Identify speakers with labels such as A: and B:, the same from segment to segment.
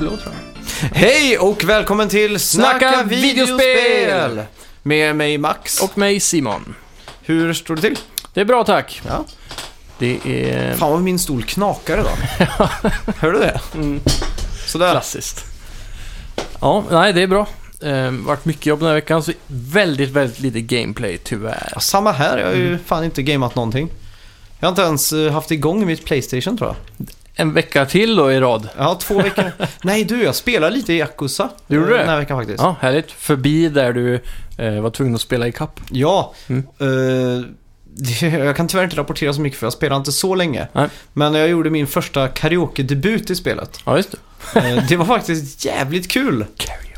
A: då tror jag.
B: Hej och välkommen till Snacka,
A: Snacka
B: videospel!
A: videospel!
B: Med mig Max.
A: Och mig Simon.
B: hur står det till?
A: Det är bra tack.
B: Ja.
A: Det är
B: Fan vad min stol knakar idag. Hör du det?
A: mm,
B: Sådär.
A: klassiskt. Ja, nej det är bra. Ehm, varit mycket jobb den här veckan, så väldigt, väldigt lite gameplay tyvärr.
B: Ja, Samma här, jag har ju
A: Mm.
B: fan inte gameat någonting. Jag har inte ens eh, haft igång mitt Playstation tror jag.
A: En vecka till då i rad.
B: Ja, två veckor. Nej du, jag spelar lite i Yakuza.
A: Du gjorde
B: eh,
A: det?
B: Den här veckan faktiskt.
A: Ja, härligt. Förbi där du eh, var tvungen att spela i kapp.
B: Ja,
A: Mm.
B: eh, det- jag kan tyvärr inte rapportera så mycket för jag spelar inte så länge.
A: Nej.
B: Men jag gjorde min första karaoke-debut i spelet.
A: Ja, just det.
B: Eh, det var faktiskt jävligt kul.
A: Karaoke.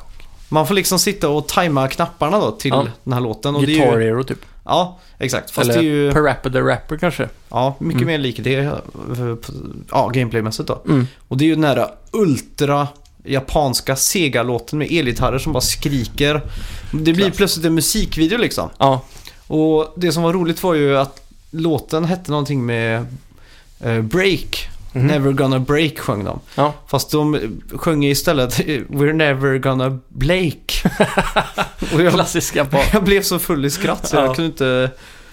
B: Man får liksom sitta och tajma knapparna då till
A: Ja.
B: den här låten. Och det är
A: Guitar
B: ju,
A: Hero typ.
B: Ja, exakt. Fast
A: Eller
B: det är ju
A: Per Rapper the Rapper kanske.
B: ja, mycket
A: Mm.
B: mer lik det eh, ja, gameplaymässigt då.
A: Mm.
B: Och det är ju den här ultra japanska Sega-låten med elgitarrer som bara skriker. Det blir
A: Klass.
B: plötsligt en musikvideo liksom.
A: Ja,
B: Och det som var roligt var ju att låten hette någonting med eh, Break.
A: Mhm.
B: Never gonna break sjöng de.
A: Ja.
B: Fast de eh, sjöng istället eh, We're never gonna Blake. Och jag,
A: klassiska på.
B: jag blev så full i skratt så
A: Ja.
B: jag kunde inte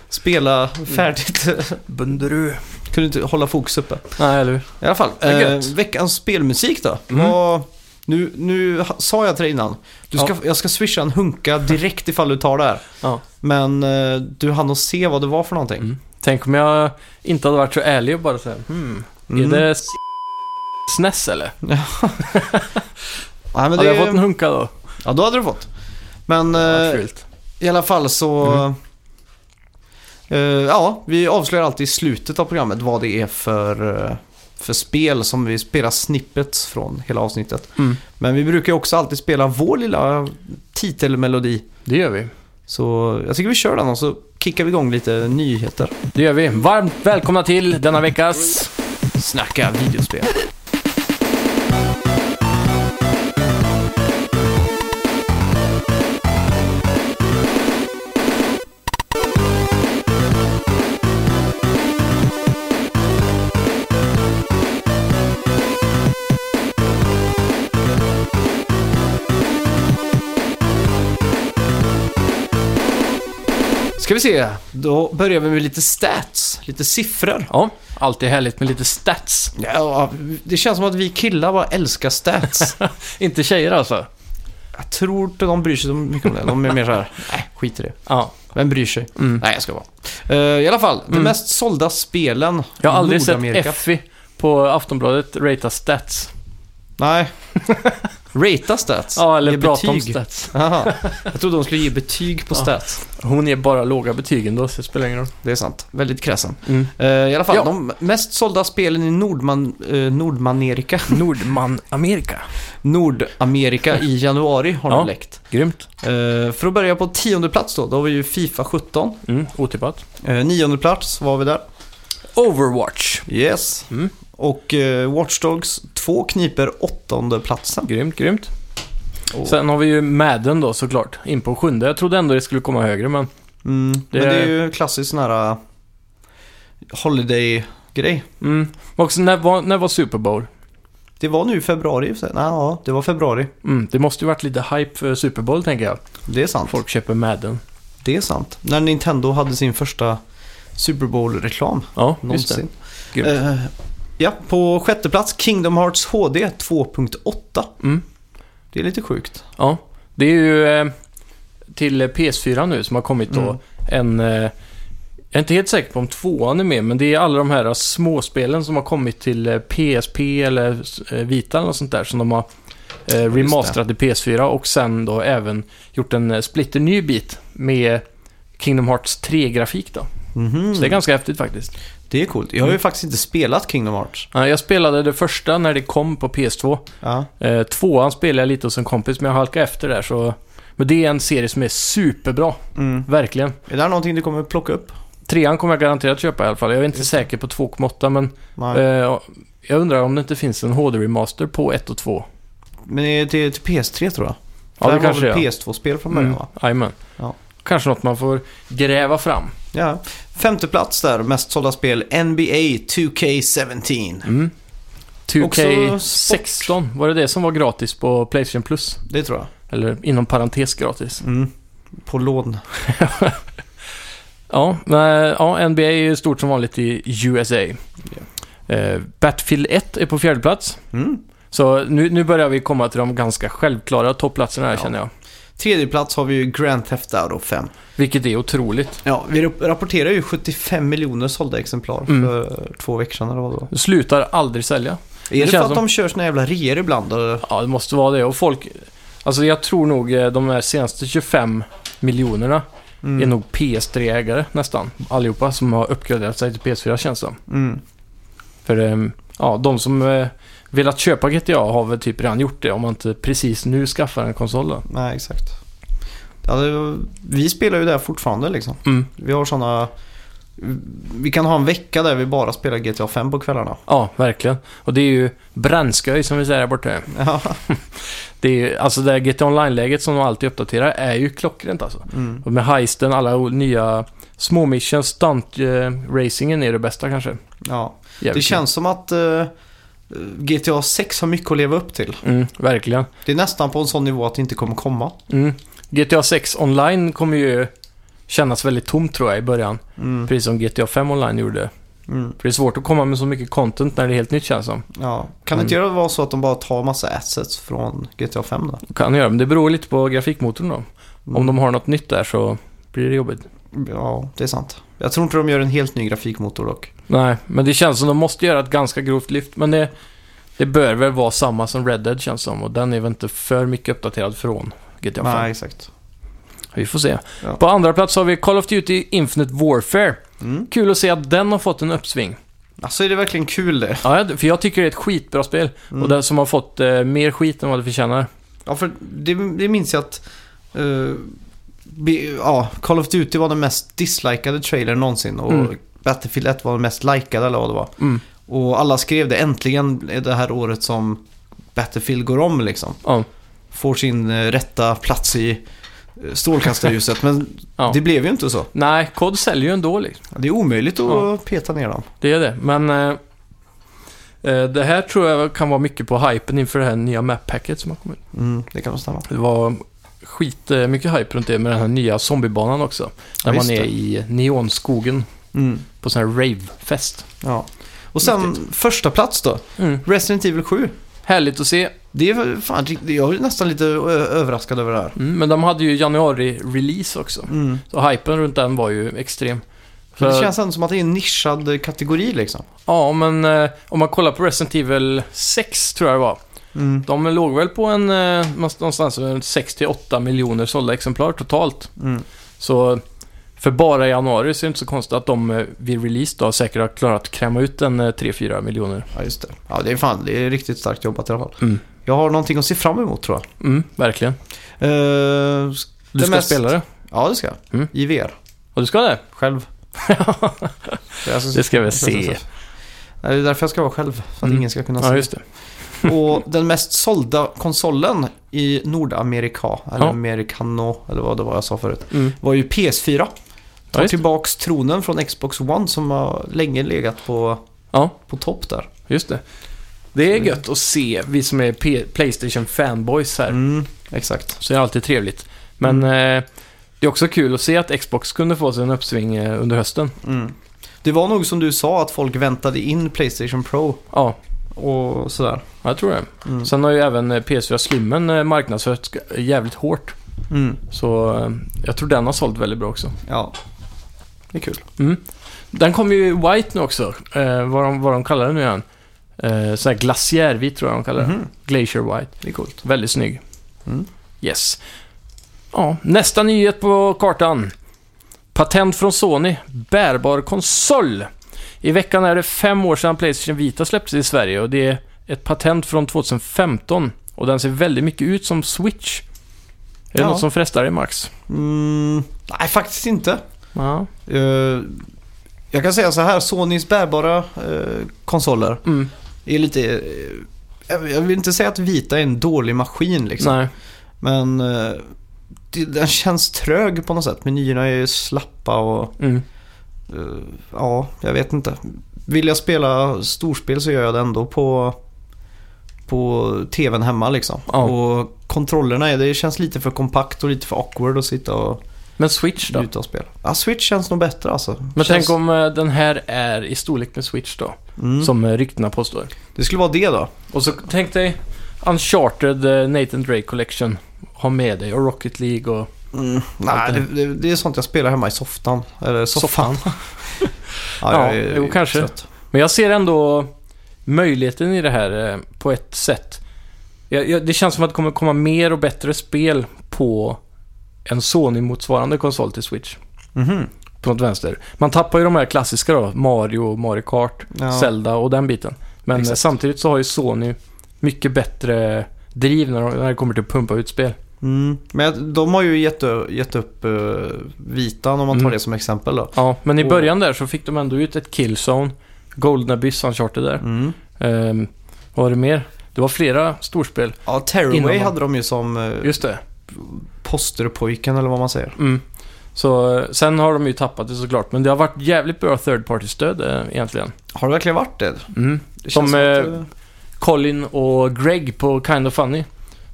B: spela färdigt.
A: Bunderu.
B: kunde inte hålla fokus uppe.
A: Nej, eller hur?
B: I alla fall,
A: Det är
B: eh,
A: gött.
B: veckans spelmusik då.
A: Mm.
B: Vad- nu, nu ha- sa jag till dig innan, du ska, jag ska swisha en hunka direkt ifall du tar det här.
A: Ja.
B: Men eh, du hann att se vad det var för någonting.
A: Mm. Tänk om jag inte hade varit så ärlig och bara såhär, hmm,
B: Mm.
A: är det s- SNES eller?
B: Nej, men
A: hade
B: det, Eh,
A: jag fått en hunka då?
B: Ja, då hade du fått. Men
A: Vad
B: eh,
A: fult.
B: i alla fall så...
A: Mm.
B: eh, ja, vi avslöjar alltid i slutet av programmet vad det är för, eh, för spel som vi spelar snippets från hela avsnittet.
A: Mm.
B: Men vi brukar ju också alltid spela vår lilla titelmelodi.
A: Det gör vi.
B: Så jag tycker vi kör den och så kickar vi igång lite nyheter.
A: Det gör vi. Varmt välkomna till denna veckas...
B: Snacka videospel. Ska vi se, då börjar vi med lite stats, lite siffror.
A: Ja, alltid härligt med lite stats.
B: Ja, det känns som att vi killar bara älskar stats.
A: Inte tjejer alltså.
B: jag tror inte de bryr sig så mycket om det. De är mer så här, nej, skit i det.
A: Ja.
B: Vem bryr sig?
A: Mm.
B: Nej, jag ska vara. Eh, I alla fall, de mest sålda spelen
A: Jag har
B: i
A: aldrig sett
B: Nordamerika.
A: Effie på Aftonbladet rata stats.
B: Nej. Rata stats?
A: Ja, eller
B: Ge
A: prata om
B: betyg.
A: stats.
B: Aha. Jag trodde de skulle ge betyg på
A: Ja.
B: stats.
A: Hon ger bara låga betyg ändå, så det spelar ingen roll.
B: Det är sant. Väldigt kräsen.
A: Mm.
B: Eh, I alla fall,
A: Ja.
B: de mest sålda spelen i Nordman, eh, Nordmanerika,
A: Nordman Amerika.
B: Nordamerika i januari har de
A: Ja.
B: läckt.
A: Grymt.
B: Eh, för att börja på tionde plats då, då har vi ju Fifa 17.
A: Mm, otippat.
B: Eh, nionde plats var vi där.
A: Overwatch.
B: Yes.
A: Mm.
B: Och eh, Watch Dogs 2 kniper åttonde platsen.
A: Grymt, grymt.
B: Och,
A: Sen har vi ju Madden då såklart, in på sjunde. Jag trodde ändå det skulle komma högre, men
B: mm,
A: det-
B: Men det är ju klassiskt sån här eh, Holiday-grej.
A: Mm. Men också, när var, när var Super Bowl?
B: Det var nu i februari i och för sig. Nej, ja, det var februari.
A: Mm, det måste ju varit lite hype för Super Bowl, tänker jag.
B: Det är sant.
A: Folk köper Madden.
B: Det är sant. När Nintendo hade sin första Super Bowl-reklam
A: Ja, just det.
B: någonsin.
A: Grymt.
B: Eh, ja, på sjätte plats Kingdom Hearts HD 2.8.
A: Mm.
B: Det är lite sjukt.
A: Ja, det är ju eh, till PS4 nu som har kommit då en...
B: Mm.
A: Eh, jag är inte helt säker på om tvåan är med, men det är alla de här småspelen som har kommit till eh, PSP eller eh, Vita eller något sånt där som de har eh, remasterat i PS4 och sen då även gjort en eh, splitter ny bit med Kingdom Hearts 3-grafik då.
B: Mhm. Mm.
A: Så det är ganska häftigt faktiskt.
B: Det är coolt. Jag har ju faktiskt inte spelat Kingdom Hearts.
A: Ja, Jag spelade det första när det kom på PS2.
B: Ja.
A: Eh, tvåan spelade jag lite hos en kompis, men jag halkade efter där så... Men det är en serie som är superbra,
B: Mm.
A: verkligen.
B: Är det här någonting du kommer plocka upp?
A: Trean kommer jag garanterat köpa i alla fall. Jag är inte säker på 2,8 men...
B: Nej.
A: Eh, jag undrar om det inte finns en HD-remaster på 1 och 2.
B: Men det är till, till PS3 tror jag.
A: Ja, det
B: Där
A: kanske
B: var
A: det
B: väl
A: är.
B: PS2-spel från början va?
A: Mm. Jajamän.
B: Ja.
A: Kanske något man får gräva fram.
B: Ja. Femte plats där, mest sålda spel, NBA 2K17.
A: Mm.
B: Också
A: 2K16, var det det som var gratis på Playstation Plus?
B: Det tror jag.
A: Eller inom parentes gratis.
B: Mm. På lån.
A: Ja, men, ja NBA är ju stort som vanligt i USA. Eh, Battlefield 1 är på fjärde plats.
B: Mm.
A: Så nu, nu börjar vi komma till de ganska självklara toppplatserna här
B: Ja.
A: känner jag.
B: Tredje plats har vi ju Grand Theft Auto 5.
A: Vilket är otroligt.
B: Ja, vi rap- rapporterar ju 75 miljoner sålda exemplar
A: Mm.
B: för två veckor sedan eller vad det var.
A: Det slutar aldrig sälja.
B: Är det, för
A: känns
B: att
A: som-
B: de kör såna jävla reor ibland? Eller?
A: Ja, det måste vara det. Och folk... Alltså jag tror nog eh, de här senaste 25 miljonerna är nog PS3-ägare nästan. Allihopa som har uppgraderat sig till PS4 känns det som.
B: Mm.
A: För eh, ja, de som eh, velat köpa GTA har väl typ redan gjort det om man inte precis nu skaffar en konsol då.
B: Nej, exakt. Ja, det, vi spelar ju där fortfarande liksom.
A: Mm.
B: Vi har sådana... Vi kan ha en vecka där vi bara spelar GTA 5 på kvällarna.
A: Ja, verkligen. Och det är ju bränsköj som vi säger här borta.
B: Ja.
A: Det är ju, alltså det här GTA Online-läget som de alltid uppdaterar är ju klockrent alltså.
B: Mm.
A: Och med heisten, alla o- nya små missions, stunt eh, racingen är det bästa kanske.
B: ja.
A: Jävligt
B: Det
A: kul.
B: känns som att eh, GTA 6 har mycket att leva upp till.
A: Mm, verkligen.
B: Det är nästan på en sån nivå att det inte kommer komma.
A: Mm. GTA 6 online kommer ju kännas väldigt tomt tror jag i början.
B: Mm.
A: Precis som GTA 5 online gjorde.
B: Mm.
A: För det är svårt att komma med så mycket content när det är helt nytt känns det som.
B: Ja. Kan det inte göra det vara så att de bara tar massa assets från GTA 5 då?
A: Kan göra, men det beror lite på grafikmotorn då. Om de har något nytt där så blir det jobbigt.
B: Ja, det är sant. Jag tror inte de gör en helt ny grafikmotor dock.
A: Nej, men det känns som de måste göra ett ganska grovt lyft. Men det, det bör väl vara samma som Red Dead känns som. Och den är väl inte för mycket uppdaterad från GTA 5.
B: Nej, exakt.
A: Vi får se.
B: Ja.
A: På andra plats har vi Call of Duty Infinite Warfare.
B: Mm.
A: Kul att se att den har fått en uppsving.
B: Alltså är det verkligen kul det?
A: Ja, för jag tycker det är ett skitbra spel.
B: Mm.
A: Och den som har fått eh, mer skit än vad det förtjänar.
B: Ja, för det, det minns jag att... eh, be, ja, Call of Duty var den mest dislikade trailern någonsin och
A: Mm.
B: Battlefield 1 var den mest likade eller vad det var.
A: Mm.
B: Och alla skrev det, äntligen är det här året som Battlefield går om liksom.
A: Ja.
B: Får sin eh, rätta plats i eh, strålkastarljuset. Men
A: Ja.
B: det blev ju inte så.
A: Nej, COD säljer ju ändå liksom.
B: Det är omöjligt att
A: Ja.
B: peta ner dem.
A: Det är det, men... Eh, eh, det här tror jag kan vara mycket på hypen inför det här nya map-packet som har kommit.
B: Mm, det kan nog stämma.
A: Det var skit eh, mycket hype runt det med den här nya zombiebanan också. Där
B: Ja,
A: man
B: just
A: är
B: det.
A: i neonskogen
B: Mm,
A: på sån här ravefest.
B: ja. Och sen första plats då.
A: Mm.
B: Resident Evil 7.
A: Härligt att se.
B: Det är fan, rikt- jag är nästan lite ö- överraskad över det här.
A: Mm, men de hade ju januari-release också.
B: Mm.
A: Så hypen runt den var ju extrem.
B: Men
A: Så-
B: det känns ändå som att det är en nischad eh, kategori liksom.
A: Ja, men eh, om man kollar på Resident Evil 6 tror jag det var.
B: Mm.
A: De låg väl på en eh, någonstans runt 6-8 miljoner sålda exemplar totalt.
B: Mm.
A: Så för bara januari så är det inte så konstigt att de eh, vid release då säkert har klarat att kräma ut en eh, 3-4 miljoner.
B: Ja, just det. Ja, det är fan, det är riktigt starkt jobbat i alla fall.
A: Mm.
B: Jag har någonting att se fram emot tror jag.
A: Mm, verkligen.
B: Eh, s-
A: Du
B: Det
A: ska
B: mest-
A: spela det.
B: ja, det ska jag.
A: Mm.
B: I VR.
A: Och du ska det?
B: Själv. alltså-
A: Det ska vi se.
B: Det är därför jag ska vara själv. För att
A: Mm.
B: ingen ska kunna se.
A: Ja, just det.
B: Och den mest sålda konsolen i Nordamerika, eller
A: Ja.
B: Americano, eller vad det var jag sa förut,
A: Mm.
B: var ju PS4.
A: Ja,
B: Tar
A: just det.
B: tillbaks tronen från Xbox One som har länge legat på,
A: Ja,
B: på topp där.
A: just det. Det är gött att se, vi som är P- Playstation-fanboys här.
B: Mm, exakt.
A: Så är det alltid trevligt. Men eh, det är också kul att se att Xbox kunde få sig en uppsving eh, under hösten.
B: Mm. Det var nog som du sa att folk väntade in Playstation Pro
A: Ja,
B: och sådär.
A: Ja, jag tror det.
B: Mm.
A: Sen har ju även eh, PS4 Slimmen eh, marknadsförts g- jävligt hårt.
B: Mm.
A: Så eh, jag tror den har sålt väldigt bra också.
B: Ja, det är kul.
A: Den kommer ju i White nu också. Eh, vad, de, vad de kallar den nu igen. Eh, sån här glaciärvit tror jag de kallar den.
B: Mhm,
A: Glacier White.
B: Det är coolt.
A: Väldigt snygg.
B: Mm.
A: Yes. Ja, nästa nyhet på kartan. Patent från Sony. Bärbar konsol. I veckan är det fem år sedan Playstation Vita släpptes i Sverige och det är ett patent från 2015. Och den ser väldigt mycket ut som Switch. Är det
B: Ja.
A: något som frestar dig Max?
B: Mm, nej, faktiskt inte.
A: Ja.
B: Eh, jag kan säga så här, Sonys bärbara eh, konsoler
A: Mm.
B: är lite... eh, jag- jag vill inte säga att Vita är en dålig maskin liksom.
A: Nej.
B: Men eh, det, den känns trög på något sätt. Menyerna är ju slappa och...
A: Mm.
B: Eh, ja, jag vet inte. Vill jag spela storspel så gör jag det ändå på på tvn hemma liksom.
A: Ja.
B: Och kontrollerna är, det känns lite för kompakt och lite för awkward att sitta och
A: Men Switch då?
B: njuta och spela. Ja, Switch känns nog bättre alltså.
A: Men
B: känns...
A: tänk om eh, den här är i storlek med Switch då,
B: Mm.
A: som eh, ryktena påstår.
B: Det skulle vara det då.
A: Och så tänk dig Uncharted eh, Nathan Drake Collection. Ha med dig och Rocket League och...
B: Mm, Nej,
A: Allt det-
B: det, det, det är sånt jag spelar hemma i soffan. Eller soffan.
A: Ja, jo, kanske.
B: trött.
A: Men jag ser ändå möjligheten i det här eh, på ett sätt. Jag, jag, det känns som att det kommer komma mer och bättre spel på en Sony-motsvarande konsol till Switch.
B: Mhm.
A: På något vänster. Man tappar ju de här klassiska då, Mario, Mario Kart,
B: Ja.
A: Zelda och den biten. Men eh,
B: Exakt.
A: samtidigt så har ju Sony mycket bättre driv när, de, när det kommer till att pumpa ut spel.
B: Mm. Men jag- de har ju gett, ö- gett upp eh, vitan om man tar
A: Mm.
B: det som exempel då.
A: Ja, men i
B: Och-
A: början där så fick de ändå ut ett Killzone, Golden Abyss, Uncharted där.
B: Mm.
A: Ehm, vad var det mer? Det var flera storspel.
B: Ja, Tearaway
A: Innan de-
B: hade de ju som eh,
A: Just det.
B: posterpojken eller vad man säger.
A: Mm. Så eh, sen har de ju tappat det såklart, men det har varit jävligt bra third party-stöd eh, egentligen.
B: Har det verkligen varit det?
A: Mm.
B: det
A: Som,
B: som att,
A: eh,
B: eh,
A: Colin och Greg på Kind of Funny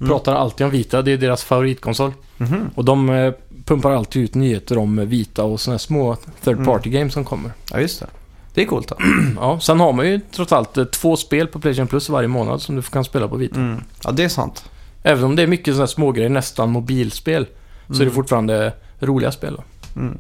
A: pratar alltid om Vita, det är deras favoritkonsol.
B: Mhm.
A: Och de eh, pumpar alltid ut nyheter om eh, Vita och sådana små third
B: Mm.
A: party-games som kommer.
B: Ja, just det. Det är coolt då.
A: Ja, sen har man ju trots allt eh, två spel på Playstation Plus varje månad som du kan spela på Vita.
B: Mm. Ja, det är sant.
A: Även om det är mycket sådana smågrejer, nästan mobilspel, så är det
B: Mm.
A: fortfarande roliga spel. Då.
B: Mm.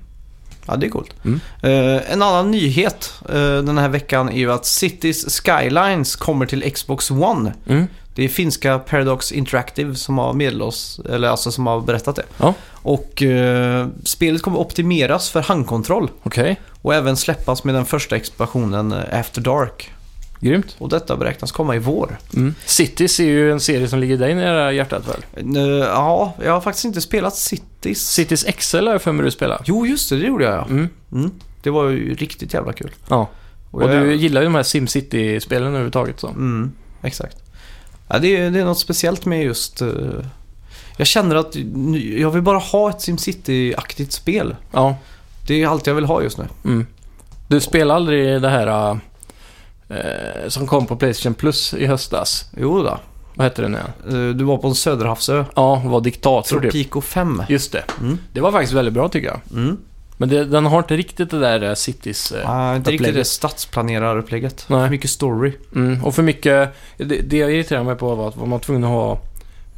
B: Ja, det är coolt.
A: Mm.
B: Eh, en annan nyhet eh, den här veckan är ju att Cities Skylines kommer till Xbox One.
A: Mm.
B: Det är finska Paradox Interactive som har meddelat oss, eller alltså som har berättat det.
A: Ja.
B: Och eh, spelet kommer optimeras för handkontroll
A: Okej,
B: och även släppas med den första expansionen eh, After Dark.
A: grymt.
B: Och detta beräknas komma i vår.
A: Mm. Cities är ju en serie som ligger dig nära hjärtat väl?
B: Eh, ja, jag har faktiskt inte spelat Cities.
A: Cities XL har jag för mig du spelar.
B: jo, just det, det gjorde jag ja.
A: Mm.
B: Mm. Det var ju riktigt jävla kul.
A: Ja. Och
B: jag-
A: du gillar ju de här SimCity-spelen överhuvudtaget så.
B: Mm, exakt. Ja, det, är, det är något speciellt med just... eh, jag känner att nu- jag vill bara ha ett SimCity-aktigt spel.
A: Ja.
B: Det är allt jag vill ha just nu.
A: Mm. Du spelar aldrig det här eh, som kom på Playstation Plus i höstas.
B: Jo då.
A: Vad hette det nu igen?
B: Eh, Du var på en söderhavsö.
A: Ja, var diktator typ.
B: Tropico 5.
A: Just det.
B: Mm.
A: Det var faktiskt väldigt bra tycker jag.
B: Mm.
A: Men det, den har inte riktigt det där eh, Cities... Eh,
B: Ah, inte riktigt det
A: upplägget.
B: stadsplanerare-upplägget.
A: Nej.
B: Mycket story.
A: Mm, och för mycket... Det, det jag irriterade mig på var att man var tvungen att ha...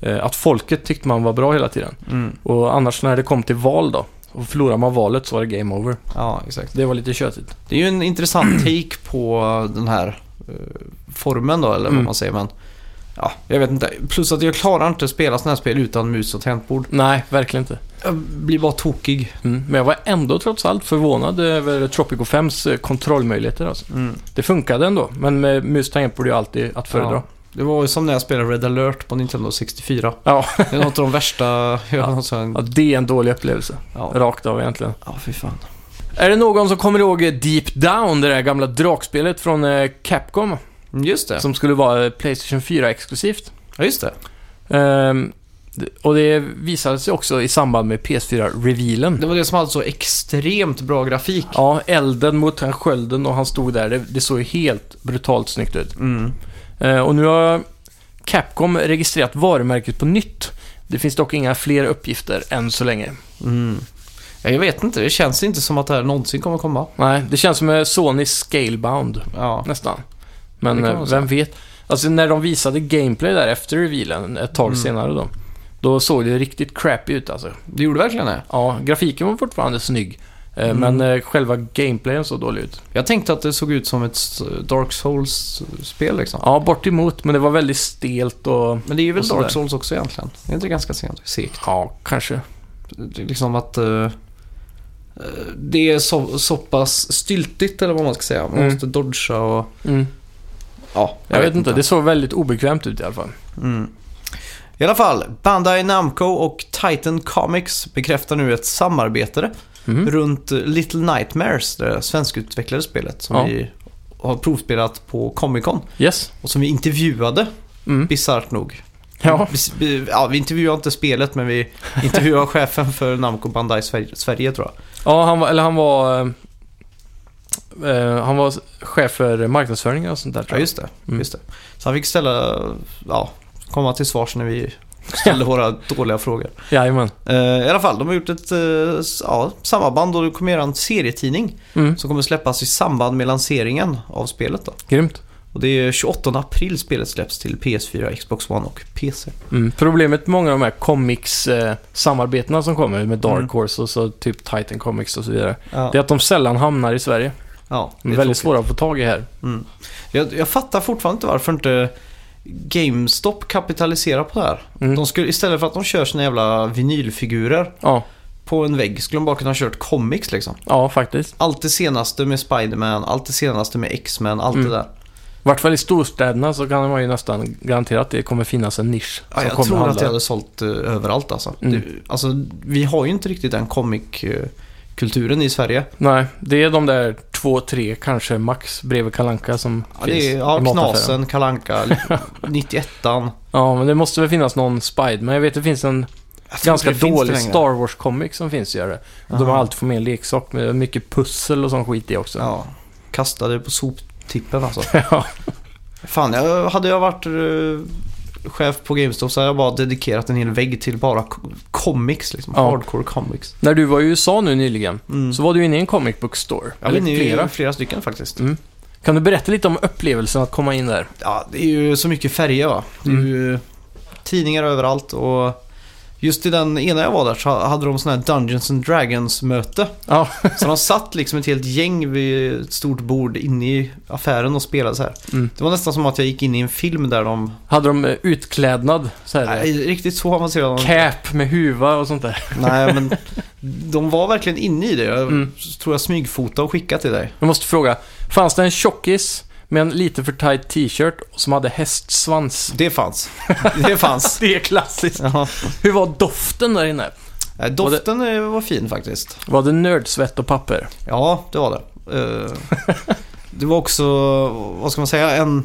A: Eh, att folket tyckte man var bra hela tiden. Och annars när det kom till val då, och förlorade man valet så var det game over.
B: Ja, exakt.
A: Det var lite tjötigt.
B: Det är ju en intressant take på den här eh, formen då, eller vad
A: Mm.
B: man säger. Men, ja, jag vet inte. Plus att jag klarar inte att spela sådana här spel utan mus och tangentbord.
A: Nej, verkligen inte.
B: Jag blir bara tokig.
A: Mm. Men jag var ändå trots allt förvånad över Tropico 5s kontrollmöjligheter. Alltså. Det funkade ändå, men med mus tangentbord är ju alltid att föredra.
B: Ja. Det var ju som när jag spelade Red Alert på Nintendo 64.
A: Ja.
B: Det är något av de värsta jag någonsin...
A: Ja, det är en dålig upplevelse.
B: Ja,
A: Rakt av egentligen.
B: ja fy fan.
A: Är det någon som kommer ihåg eh, Deep Down, det där gamla drakspelet från eh, Capcom?
B: Mm, Just det.
A: Som skulle vara eh, Playstation 4-exklusivt.
B: Ja, just det.
A: Ehm, d- och det visade sig också i samband med PS4-revealen.
B: Det var det som hade så extremt bra grafik.
A: Ja, elden mot den skölden och han stod där. Det, det såg ju helt brutalt snyggt ut.
B: Mm.
A: Eh, och nu har Capcom registrerat varumärket på nytt. Det finns dock inga fler uppgifter än så länge.
B: Mm. Ja, jag vet inte, det känns inte som att det här någonsin kommer komma.
A: Nej, det känns som eh, Sonys Scalebound,
B: Ja.
A: nästan.
B: Det
A: Men
B: kan
A: eh,
B: man säga.
A: vem vet? Alltså när de visade gameplay där efter revealen ett tag
B: Mm.
A: senare då. Då såg det riktigt crappy ut alltså.
B: Det gjorde verkligen det.
A: Ja, grafiken var fortfarande snygg. eh,
B: Mm.
A: Men eh, själva gameplayen såg dålig ut.
B: Jag tänkte att det såg ut som ett s- Dark Souls-spel liksom.
A: Ja, bort emot, men det var väldigt stelt och...
B: Men det är ju
A: Och
B: väl
A: sådär.
B: Dark Souls också egentligen? Det är inte ganska sent. segt?
A: Ja, kanske.
B: Det är Liksom att... eh, eh, det är så, så pass styltigt eller vad man ska säga. Man
A: Mm.
B: måste dodga och...
A: Mm.
B: Ja,
A: Jag, vet, inte. Det såg väldigt obekvämt ut i alla fall.
B: Mm. I alla fall, Bandai Namco och Titan Comics bekräftar nu ett samarbete
A: Mm.
B: runt eh, Little Nightmares, det svenskutvecklade spelet som
A: Ja.
B: vi har provspelat på Comic Con
A: Yes.
B: och som vi intervjuade,
A: Mm.
B: bisarrt nog.
A: Ja.
B: Vi, vi, ja, vi intervjuade inte spelet, men vi intervjuade chefen för Namco Bandai Sverige, Sverige tror jag.
A: ja, han var, eller han var... eh, eh, han var chef för marknadsföring och sånt där
B: Ja,
A: tror jag.
B: just det.
A: Mm.
B: Just det. Så han fick ställa, ja, komma till svars när vi ställde våra dåliga frågor.
A: Jajamän.
B: Eh, I alla fall, de har gjort ett eh, s- ja, samarband och det kommer göra en serietidning
A: Mm.
B: som kommer släppas i samband med lanseringen av spelet. Då.
A: Grymt.
B: Och det är 28 april spelet släpps till PS4, Xbox One och PC.
A: Mm. Problemet med många av de här comics-samarbetena som kommer med Dark
B: Mm.
A: Horse och så typ Titan Comics och så vidare.
B: Ja,
A: Det är att de sällan hamnar i Sverige.
B: ja,
A: De är
B: det är
A: väldigt
B: tråkigt.
A: svåra att få tag i här.
B: Mm. Jag, jag fattar fortfarande inte varför inte GameStop kapitaliserar på det här.
A: Mm.
B: De skulle, istället för att de kör sina jävla vinylfigurer
A: Ja,
B: på en vägg skulle de bara kunna ha kört comics liksom.
A: ja, faktiskt.
B: Allt det senaste med Spiderman, allt det senaste med X-Men, allt
A: Mm.
B: det där.
A: I vart fall i storstäderna så kan man ju nästan garantera att det kommer finnas en nisch.
B: Ja, jag
A: kommer
B: tror att
A: handla.
B: jag hade sålt eh, överallt alltså.
A: Mm.
B: Det, alltså. Vi har ju inte riktigt den comic-kulturen i Sverige.
A: Nej, det är de där två, tre kanske max bredvid Kalanka som
B: Ja,
A: finns
B: det är ja,
A: i mataffären.
B: Knasen, Kalanka, 91an.
A: Ja, men det måste väl finnas någon Spiderman. Jag vet det finns en ganska dålig Star Wars-comic som finns att göra. De har alltid fått med en leksak med mycket pussel och sån skit i också.
B: Ja, kastade på soptippen alltså.
A: Ja.
B: Fan, jag, hade jag varit eh, chef på GameStop så hade jag bara dedikerat en hel vägg till bara co- comics liksom.
A: Ja.
B: Hardcore comics.
A: När du var i USA nu nyligen
B: Mm.
A: så var du inne i en comic book store.
B: Ja,
A: eller
B: men det är ju
A: flera.
B: flera stycken faktiskt.
A: Mm. Kan du berätta lite om upplevelsen att komma in där?
B: Ja, det är ju så mycket färger va. Det är
A: Mm.
B: ju tidningar överallt och just i den ena jag var där så hade de sån här Dungeons and Dragons möte.
A: Ja,
B: Så de satt liksom ett helt gäng vid ett stort bord inne i affären och spelade så här.
A: Mm.
B: Det var nästan som att jag gick in i en film där de...
A: hade de eh, utklädnad? Så här,
B: Nej, riktigt så avancerade de
A: Cap med huva och sånt där.
B: Nej, men de var verkligen inne i det. Jag
A: Mm.
B: tror jag smygfotade och skickade till dig.
A: Jag måste fråga, fanns det en tjockis med en lite för tight t-shirt som hade hästsvans?
B: Det fanns. Det fanns.
A: Det är klassiskt.
B: Ja.
A: Hur var doften där inne?
B: Eh, Doften eh, var fin faktiskt.
A: Var det nördsvett och papper?
B: Ja, det var det. Eh, Det var också, vad ska man säga, en,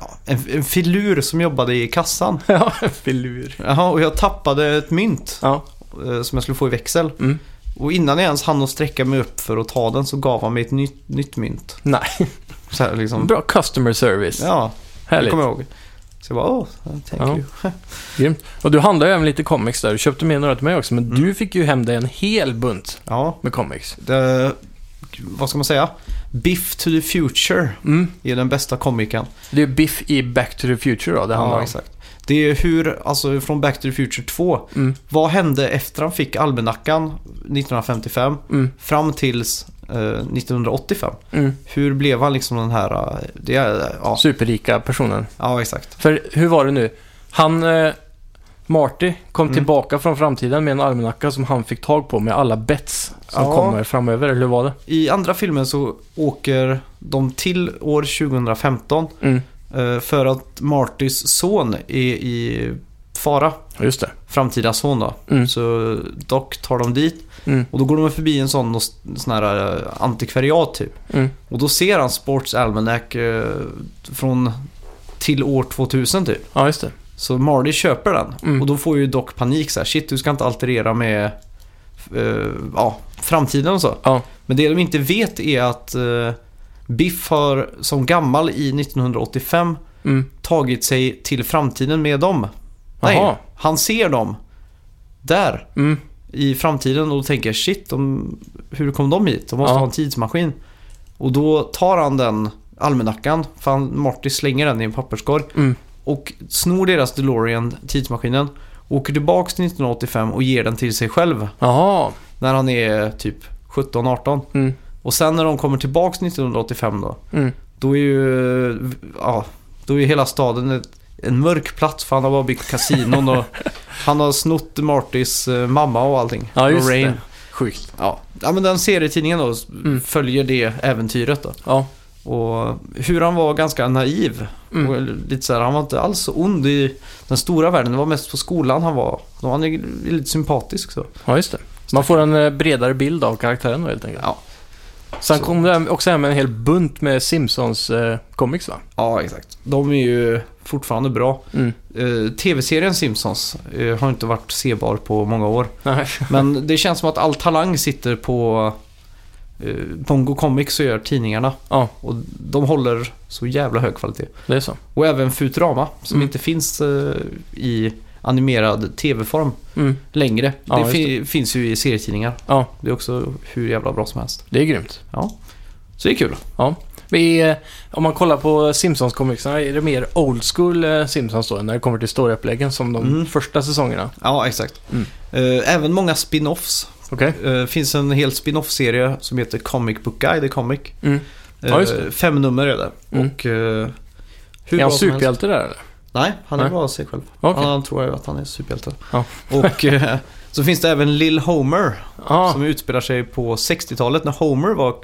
B: ja, en, en filur som jobbade i kassan.
A: Ja, filur.
B: Jaha, och jag tappade ett mynt
A: Ja.
B: eh, som jag skulle få i växel.
A: Mm.
B: Och innan jag ens hann att sträcka mig upp för att ta den så gav han mig ett nytt, nytt mynt.
A: Nej,
B: Så här liksom.
A: bra customer service.
B: Ja, det
A: Härligt.
B: kommer jag ihåg. Så jag bara, åh, thank
A: Ja.
B: you.
A: Grymt. Och du handlade ju även lite comics där. Du köpte med några till mig också, men
B: Mm.
A: du fick ju hem dig en hel bunt
B: Ja,
A: med comics.
B: Det, Eh, vad ska man säga? Biff to the Future
A: Mm.
B: är den bästa komikern.
A: Det är Biff i Back to the Future då, det handlar om.
B: exakt. Det är hur, alltså från Back to the Future 2.
A: Mm.
B: Vad hände efter han fick almanackan 1955
A: Mm.
B: fram tills eh, 1985?
A: Mm.
B: Hur blev han liksom den här, eh, det är, ja,
A: Superrika personen.
B: ja exakt.
A: För hur var det nu? Han, eh, Marty, kom
B: Mm.
A: tillbaka från framtiden med en almanacka som han fick tag på med alla bets som
B: Ja.
A: kommer framöver, eller hur var det?
B: I andra filmen så åker de till år 2015
A: Mm.
B: eh, för att Martys son är i fara.
A: Just det.
B: Framtida son då.
A: Mm.
B: Så Doc tar dem dit
A: Mm.
B: och då går de förbi en sån, sån här eh, antikvariat typ.
A: Mm.
B: Och då ser han Sports Almanac eh, från till år 2000 typ.
A: Ja, just det.
B: Så Marty köper den
A: Mm.
B: och då får ju Doc panik så här. Shit, du ska inte alterera med eh, ja, framtiden och så.
A: Ja.
B: Men det de inte vet är att eh, Biff har som gammal i 1985
A: Mm.
B: tagit sig till framtiden med dem.
A: Jaha.
B: Nej, han ser dem. Där
A: Mm.
B: i framtiden och tänker shit, de, hur kom de hit? De måste
A: Ja.
B: ha en tidsmaskin. Och då tar han den almanackan, för han, Marty slänger den i en papperskorg
A: Mm.
B: och snor deras DeLorean, tidsmaskinen, åker tillbaks till 1985 och ger den till sig själv
A: Jaha.
B: när han är typ 17-18.
A: Mm.
B: Och sen när de kommer tillbaks 1985 då,
A: Mm.
B: då är ju ja, då är hela staden ett, en mörk plats för han har bara byggt kasinon och han har snott Martys eh, mamma och allting.
A: Ja, just
B: Lorraine.
A: det. Sjukt.
B: Ja. ja, men den serietidningen då
A: Mm.
B: följer det äventyret då.
A: Ja.
B: Och hur han var ganska naiv.
A: Mm.
B: Och lite så här, han var inte alls så ond i den stora världen. Det var mest på skolan han var. Han är lite sympatisk så.
A: Ja, just det. Man får en eh, bredare bild av karaktären då helt enkelt.
B: Ja.
A: Sen
B: Så-
A: kom det hem- också hem en hel bunt med Simpsons eh, comics va?
B: Ja, exakt. De är ju fortfarande bra.
A: Mm.
B: Eh, TV-serien Simpsons eh, har inte varit sebar på många år.
A: Nej.
B: Men det känns som att all talang sitter på eh, Pongo Comics så gör tidningarna.
A: Ja.
B: Och de håller så jävla hög kvalitet.
A: Det är så.
B: Och även Futurama som
A: Mm.
B: inte finns eh, i animerad tv-form
A: Mm.
B: längre.
A: Ja,
B: det,
A: just
B: fi- finns ju i serietidningar.
A: Ja.
B: Det är också hur jävla bra som helst.
A: Det är grymt.
B: Ja. Så det är kul.
A: Vi, eh, om man kollar på Simpsons-komikserna, är det mer old school eh, Simpsons då? När det kommer till storyuppläggen som de
B: Mm.
A: första säsongerna?
B: Ja, exakt.
A: Mm.
B: Eh, även många spin-offs.
A: Okej.
B: Eh, finns en hel spin-off-serie som heter Comic Book Guy, The Comic.
A: Mm. Ja, just det.
B: Eh, Fem nummer är det.
A: Mm.
B: Och, eh, hur
A: Är
B: bra
A: han
B: som helst.
A: superhjälte där eller?
B: Nej, han är
A: Nej.
B: bara sig själv.
A: Okej.
B: Han tror ju att han är superhjälte.
A: Ja.
B: Och eh, så finns det även Lil Homer
A: Ja.
B: som utspelar sig på 60-talet när Homer var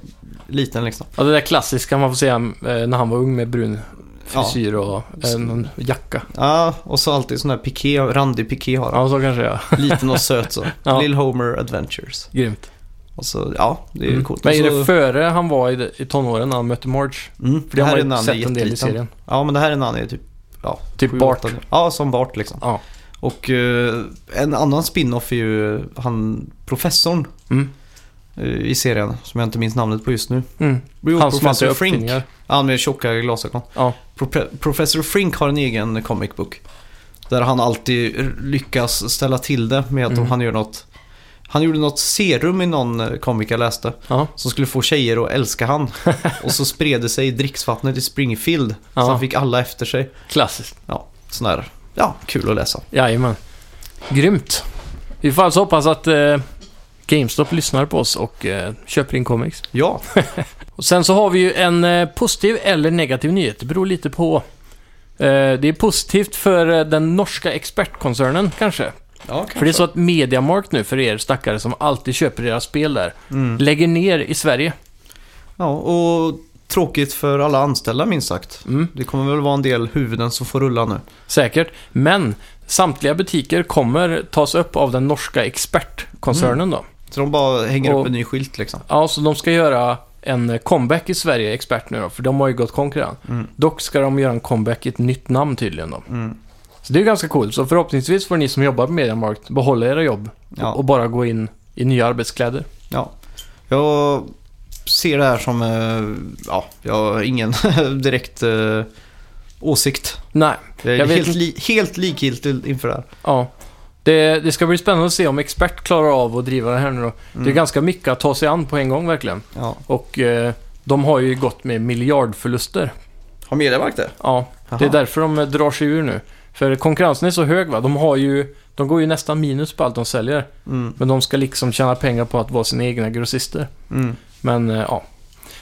B: liten liksom.
A: ja, det där klassiska man får säga eh, när han var ung med brun frisyr och en någon jacka.
B: Ja, och så alltid sån här piké, randig piké har han.
A: Ja, så kanske jag.
B: Liten och söt så.
A: Ja.
B: Lil Homer Adventures.
A: Grymt.
B: Och så, ja, det är ju
A: Mm.
B: coolt.
A: Men är
B: och så,
A: det före han var i, i tonåren när han mötte Marge?
B: mm,
A: För det har
B: här
A: man
B: är när
A: ju
B: han är
A: sett en del i
B: jätteliten.
A: serien.
B: Ja, men det här är när han är typ
A: Typ
B: sju,
A: Bart.
B: åtta. Ja, som Bart liksom.
A: Ja.
B: Och eh, en annan spin-off är ju han professorn
A: Mm.
B: eh, i serien som jag inte minns namnet på just nu.
A: Mm. Han
B: Jo,
A: som alltid
B: professor
A: har
B: Frink.
A: uppfinningar.
B: Ja, Han med tjocka glasögon.
A: Ja.
B: Prope- professor Frink har en egen comic book. Där han alltid r- lyckas ställa till det med att om
A: Mm.
B: han gör något han gjorde något serum i någon eh, comic jag läste
A: Ja.
B: som skulle få tjejer att älska han. Och så spred det sig i dricksvattnet i Springfield.
A: Ja.
B: Så han fick alla efter sig.
A: Klassiskt.
B: Sån här, ja, kul att läsa.
A: Jajamän. Grymt. Vi får alltså hoppas att eh, GameStop lyssnar på oss och eh, köper in comics.
B: Ja,
A: Och sen så har vi ju en eh, positiv eller negativ nyhet. Det beror lite på. Eh, det är positivt för eh, den norska expertkoncernen kanske.
B: ja
A: För det är så att Mediamarkt nu, för er stackare som alltid köper deras spel där,
B: Mm.
A: lägger ner i Sverige.
B: Ja, och tråkigt för alla anställda minst sagt.
A: Mm.
B: Det kommer väl vara en del huvuden som får rulla nu.
A: Säkert. Men samtliga butiker kommer tas upp av den norska expertkoncernen då.
B: Så de bara hänger
A: Och-
B: upp en ny skylt liksom.
A: Ja, så de ska göra en comeback i Sverige, expert nu då, för de har ju gått konkurrens.
B: Mm.
A: Dock ska de göra en comeback i ett nytt namn tydligen då.
B: Mm.
A: Så det är ju ganska coolt. Så förhoppningsvis får ni som jobbar på Mediamarkt behålla era jobb
B: Ja.
A: och bara gå in i nya arbetskläder.
B: Ja. Jag ser det här som, eh, ja, jag har ingen direkt eh, åsikt.
A: Nej,
B: Jag är
A: Jag vet
B: helt,
A: inte.
B: li- helt likgiltig inför det här.
A: ja. Det, det ska bli spännande att se om expert klarar av att driva det här nu då. Det är
B: Mm.
A: ganska mycket att ta sig an på en gång verkligen.
B: Ja.
A: Och eh, de har ju gått med miljardförluster.
B: Har Mediamarkt det?
A: Ja, det är därför de eh, drar sig ur nu. För konkurrensen är så hög va. De har ju... De går ju nästan minus på allt de säljer.
B: Mm.
A: Men de ska liksom tjäna pengar på att vara sina egna grossister.
B: Mm.
A: Men eh, ja.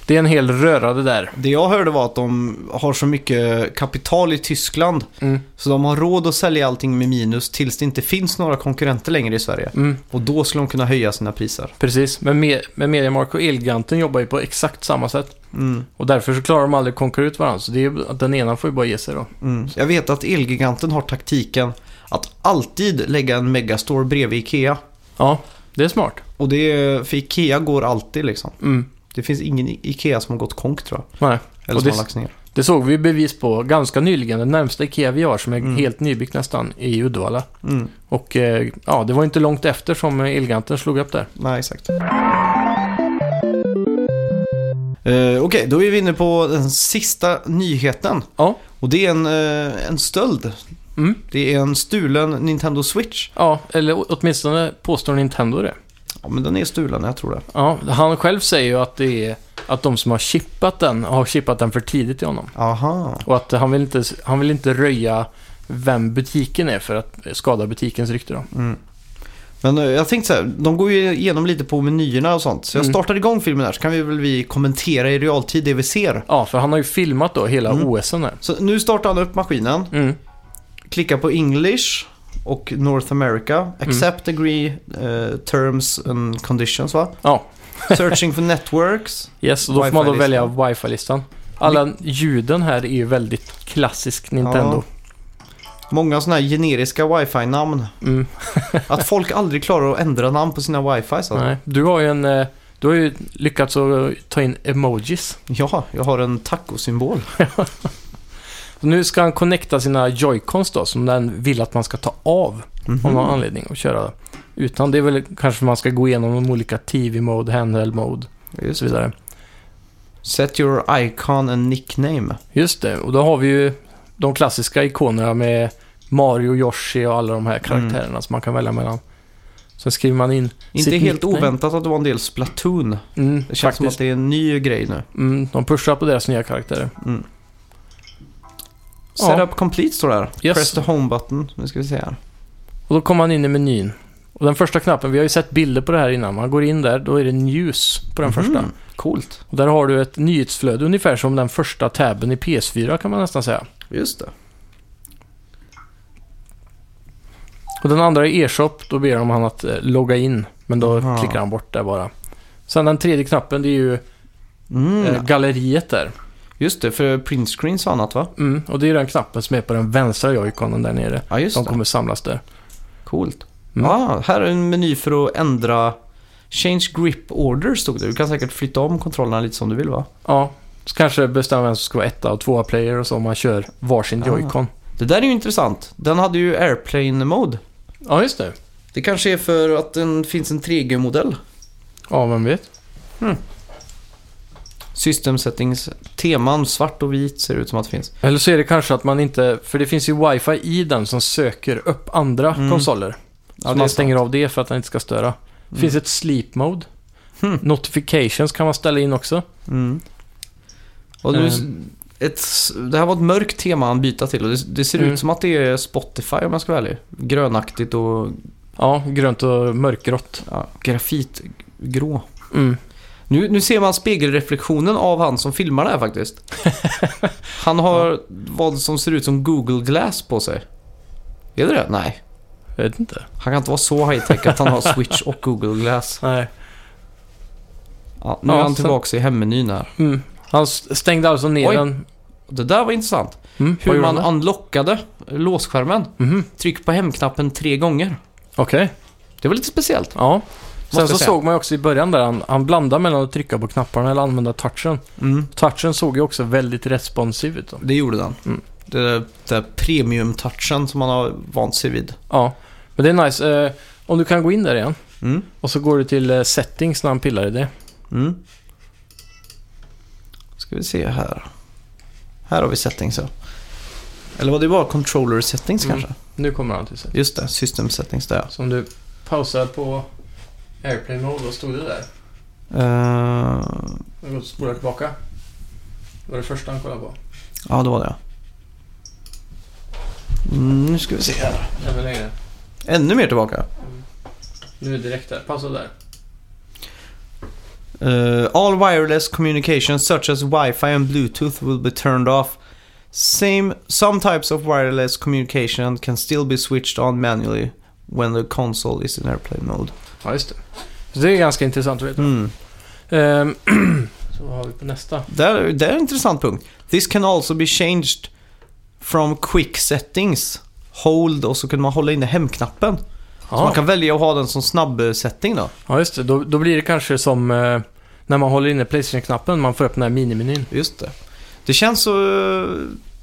A: Det är en hel röra det där.
B: Det jag hörde var att de har så mycket kapital i Tyskland
A: Mm,
B: så de har råd att sälja allting med minus tills det inte finns några konkurrenter längre i Sverige.
A: mm,
B: Och då skulle de kunna höja sina priser.
A: precis. Men med, med Mediamark och Elgiganten jobbar ju på exakt samma sätt.
B: Mm.
A: Och därför så klarar de aldrig att konkurrera ut varandra. Så det är, ju- den ena får ju bara ge sig då.
B: Mm. Jag vet att Elgiganten har taktiken att alltid lägga en megastore bredvid Ikea.
A: Ja, det är smart.
B: Och det är, för Ikea går alltid liksom.
A: Mm.
B: Det finns ingen I- Ikea som har gått konk tror jag.
A: Nej.
B: Eller
A: Och
B: som
A: det-
B: har lagts ner.
A: Det såg vi bevis på ganska nyligen. Den närmsta IKEA vi har som är
B: Mm.
A: helt nybyggt nästan i Uddevalla.
B: Mm.
A: Och eh, ja, det var inte långt efter som Elganten slog upp där.
B: Nej, exakt. Eh, Okej, då är vi inne på den sista nyheten.
A: Ja.
B: Och det är en, eh, en stöld.
A: Mm.
B: Det är en stulen Nintendo Switch.
A: Ja, eller å- åtminstone påstår Nintendo det.
B: Ja, men den är stulen, jag tror det.
A: Ja, han själv säger ju att det är att de som har chippat den har chippat den för tidigt i honom.
B: Aha.
A: Och att han vill inte, han vill inte röja vem butiken är för att skada butikens rykte då.
B: Mm. Men eh, jag tänkte så här, de går ju igenom lite på menyerna och sånt. Så jag
A: Mm.
B: startar igång filmen här så kan vi väl vi kommentera i realtid det vi ser.
A: Ja, för han har ju filmat då hela
B: Mm.
A: OSen här.
B: Så nu startar han upp maskinen,
A: Mm.
B: klickar på English och North
A: Mm.
B: America. Accept, agree, eh, terms and conditions va?
A: Ja.
B: Searching for networks.
A: Yes, och då får man då välja
B: Wifi-listan.
A: wifi-listan. Alla ljuden här är ju väldigt klassisk Nintendo.
B: Många sådana här generiska wifi-namn.
A: Mm,
B: Att folk aldrig klarar att ändra namn på sina wifi. Så.
A: nej. Du har ju en... eh, Du har ju lyckats att ta in emojis.
B: Ja, jag har en tacosymbol.
A: Så nu ska han connecta sina joycons då, som den vill att man ska ta av
B: Mhm.
A: av någon anledning och köra utan. Det är väl kanske man ska gå igenom de olika TV-mode, handheld-mode och så vidare.
B: Set your icon and nickname.
A: Just det, och då har vi ju de klassiska ikonerna med Mario, Yoshi och alla de
B: Mm.
A: här karaktärerna som man kan välja mellan. Sen skriver man in
B: Inte
A: sitt
B: helt
A: nickname.
B: oväntat att det var en del Splatoon.
A: Mm,
B: Det känns som att
A: faktiskt.
B: det är en ny grej nu.
A: Mm, de pushar på deras nya karaktärer.
B: Mm.
A: Ja.
B: Setup complete står det här.
A: Yes.
B: Press the home button. Nu ska vi se här.
A: Och då kommer man in i menyn. Och den första knappen, vi har ju sett bilder på det här innan. Man går in där, då är det news på den första.
B: Mhm. Coolt.
A: Och där har du ett nyhetsflöde ungefär som den första tabben i PS4 kan man nästan säga.
B: Just det.
A: Och den andra är e-shop, då ber de han att eh, logga in. Men då
B: Aha.
A: klickar han bort där bara. Sen den tredje knappen, det är ju
B: Mm.
A: eh, galleriet där.
B: Just det, för printscreens och annat va?
A: Mm, och det är den knappen som är på den vänstra joyconen där nere.
B: Ja, just
A: De
B: det.
A: kommer samlas där.
B: Coolt.
A: Mm.
B: Ah, här är en meny för att ändra... Change grip order stod det. Du kan säkert flytta om kontrollerna lite som du vill va?
A: Ja, så kanske bestämmer vem som ska vara etta och tvåa player och så om man kör varsin
B: Ah.
A: joycon.
B: Det där är ju intressant. Den hade ju airplane mode.
A: Ja, just det.
B: Det kanske är för att den finns en 3G-modell.
A: Ja, vem vet.
B: System settings. Teman svart och vit ser det ut som att det finns.
A: Eller så är det kanske att man inte, för det finns ju wifi i den som söker upp andra
B: Mm.
A: konsoler. Så
B: det är
A: man stänger av det för att den inte ska störa. Det
B: Mm.
A: finns ett sleep mode.
B: Hmm.
A: Notifications kan man ställa in också.
B: Mm. Och nu,
A: Ehm.
B: ett, det här var ett mörkt tema att byta till och det, det ser
A: Mm.
B: ut som att det är Spotify om jag ska vara ärlig. Grönaktigt och
A: Ja, grönt och mörkgrått.
B: ja, grafitgrå.
A: Mm.
B: Nu, nu ser man spegelreflektionen av han som filmar det här faktiskt. Han har vad som ser ut som Google Glass på sig. Är det det? Nej.
A: Jag vet inte.
B: Han kan inte vara så high-tech att han har Switch och Google Glass.
A: Nej.
B: Ja, nu är
A: Ja,
B: han
A: sen-
B: tillbaka i hemmenyn här.
A: Mm. Han s- stängde alltså ner
B: Oj.
A: den.
B: Det där var intressant.
A: Mm.
B: Hur man unlockade låsskärmen.
A: mm.
B: Tryck på hemknappen tre gånger.
A: Okej,
B: Det var lite speciellt.
A: ja. Sen
B: jag
A: så
B: säga.
A: såg man ju också i början där, han, han blandade mellan att trycka på knapparna eller använda touchen. Touchen såg ju också väldigt responsiv ut. Då.
B: Mm, Det gjorde den.
A: Mm.
B: Det där, det där premium-touchen som man har vant sig vid.
A: Ja, men det är nice. Eh, om du kan gå in där igen. Och så går du till eh, settings när han pillar i det.
B: Mm. Ska vi se här. Här har vi settings. ja. Eller var det bara controller settings
A: Mm.
B: kanske?
A: Nu kommer han till settings.
B: Just det, system settings där. ja.
A: Som du pausar på airplane mode, då stod det där.
B: Eh,
A: Nu går du och spolar tillbaka. Det var det första han kollade på.
B: ja, det var det. Mm, nu ska vi se här.
A: Även längre.
B: Ännu mer tillbaka.
A: Nu direkt där. Pausa där.
B: Eh, all wireless communication such as Wi-Fi and Bluetooth will be turned off. Same, some types of wireless communication can still be switched on manually when the console is in airplane mode.
A: Ja, just det. Så det är ganska intressant att veta.
B: Mm.
A: Ehm, så vad har vi på nästa?
B: Där, där är en intressant punkt. This can also be changed from quick settings. Hold och så kunde man hålla inne hemknappen. Så man
A: Ja,
B: kan välja att ha den som snabb eh, setting då.
A: ja just det. Då, då blir det kanske som eh, när man håller inne Playstation-knappen. Man får upp den här minimenyn.
B: Just det. Det känns så, eh,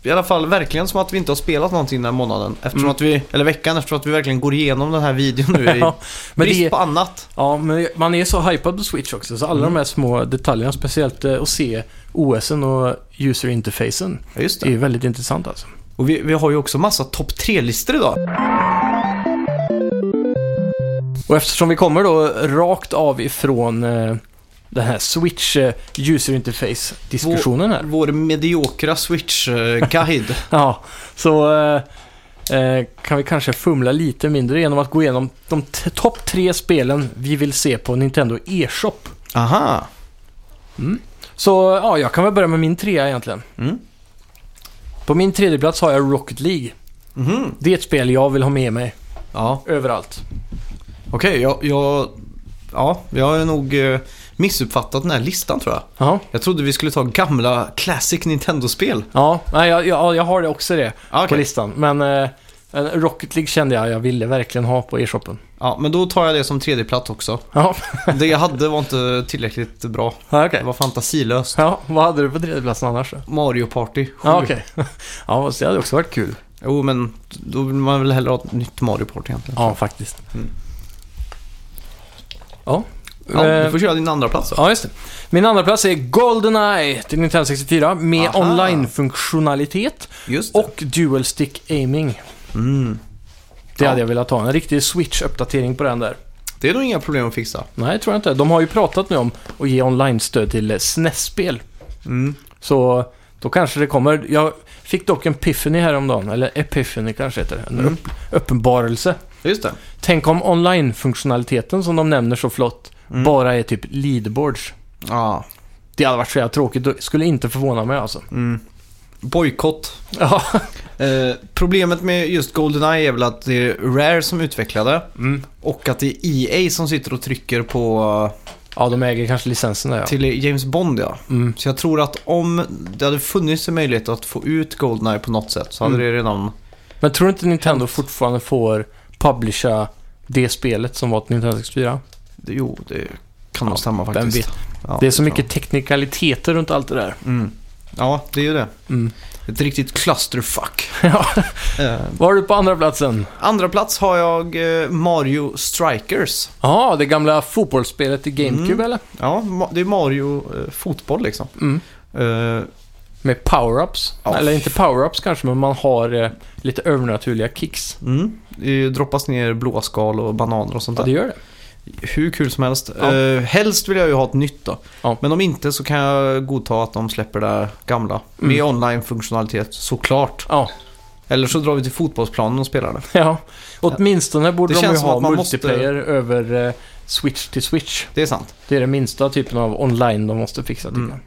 B: i alla fall verkligen som att vi inte har spelat någonting den här månaden. Eftersom
A: Mm.
B: att vi, eller veckan, eftersom att vi verkligen går igenom den här videon nu i
A: Ja, men
B: brist
A: det är-
B: på annat.
A: Ja, men man är så hypad på Switch också, så alla
B: Mm.
A: de här små detaljerna, speciellt eh, att se OSen och user interfacen,
B: Ja, just
A: det är ju väldigt intressant alltså.
B: Och vi, vi har ju också massa topp 3-listor idag.
A: Och eftersom vi kommer då rakt av ifrån eh, den här Switch eh, user interface-diskussionen här,
B: Vår mediokra Switch-guide.
A: ja, så eh, eh, kan vi kanske fumla lite mindre genom att gå igenom de t- topp tre spelen vi vill se på Nintendo e-shop.
B: Aha.
A: Så ja, jag kan väl börja med min trea egentligen.
B: Mm.
A: På min tredje plats har jag Rocket League.
B: Mhm.
A: Det är ett spel jag vill ha med mig
B: Ja.
A: överallt.
B: Okej, jag, jag... Ja, jag har nog eh, missuppfattat den här listan tror jag.
A: Ja,
B: Jag trodde vi skulle ta gamla classic Nintendo-spel.
A: ja nej, jag, jag, jag har det också det
B: Ah,
A: på
B: okej.
A: listan. Men eh, en Rocket League kände jag jag ville verkligen ha på e-shoppen.
B: Ja, men då tar jag det som tredje plats också.
A: Ja,
B: Det jag hade var inte tillräckligt bra.
A: okej.
B: Det var fantasilöst.
A: Ja, vad hade du på tredjeplatsen annars då?
B: Mario Party 7.
A: Ja, okej. Ja, fast det hade också varit kul.
B: Jo, men då vill man väl hellre ha ett nytt Mario Party egentligen.
A: Ja, faktiskt.
B: Mm.
A: Ja,
B: Ja, du
A: Eh,
B: får köra din andra plats då.
A: Ja, just det. Min andra plats är GoldenEye till Nintendo 64 med
B: Aha.
A: online-funktionalitet
B: Just det.
A: och Dual Stick Aiming.
B: Mm.
A: Det
B: Ja.
A: hade jag velat ha. En riktig Switch-uppdatering på den där.
B: Det är nog inga problem att fixa.
A: Nej, tror jag inte. De har ju pratat nu om att ge online-stöd till eh, SNES-spel.
B: Mm.
A: Så då kanske det kommer. Jag fick dock en epiphany häromdagen, eller epiphany kanske heter det. En
B: Mm.
A: upp, uppenbarelse.
B: Just det.
A: Tänk om online-funktionaliteten som de nämner så flott
B: Mm.
A: bara är typ leaderboards.
B: Ja.
A: Det hade varit så jävla tråkigt. Det skulle inte förvåna mig alltså.
B: Mm. Bojkott.
A: Ja.
B: Eh, problemet med just Goldeneye är väl att det är Rare som utvecklade
A: Mm.
B: och att det är EA som sitter och trycker på
A: Ja, de äger kanske licensen där ja.
B: till James Bond ja.
A: Mm.
B: Så jag tror att om det hade funnits en möjlighet att få ut Goldeneye på något sätt så hade
A: Mm.
B: det redan...
A: Men tror du inte Nintendo fortfarande får publisha det spelet som var till Nintendo 64?
B: det- Jo, det kan nog
A: Ja,
B: stämma
A: vem
B: faktiskt.
A: vet?
B: Ja,
A: det är så
B: tror jag.
A: mycket teknikaliteter runt allt det där.
B: Mm. Ja, det är ju det.
A: Mm.
B: Ett riktigt clusterfuck.
A: Ja.
B: Eh,
A: Vad har du på andra platsen?
B: andra plats har jag eh, Mario Strikers.
A: Ja, det gamla fotbollsspelet i GameCube
B: Mm.
A: eller?
B: Ja, ma- det är Mario eh, fotboll liksom.
A: Mm.
B: Eh,
A: Med power-ups.
B: Ja,
A: eller
B: fy
A: inte power-ups kanske, men man har eh, lite övernaturliga kicks.
B: Mm. Det droppas ner blåskal och bananer och sånt
A: Ja,
B: där.
A: det gör det.
B: Hur kul som helst.
A: Ja.
B: Eh, helst vill jag ju ha ett nytt då.
A: Ja.
B: Men om inte så kan jag godta att de släpper det gamla.
A: Mm.
B: Med online-funktionalitet såklart.
A: Ja,
B: Eller så drar vi till fotbollsplanen och spelar det.
A: ja. åtminstone borde
B: Det
A: de ju
B: känns som
A: ha
B: att man måste-
A: multiplayer över eh, switch till switch.
B: Det är sant.
A: Det är den minsta typen av online de måste fixa tycker
B: Mm.
A: jag.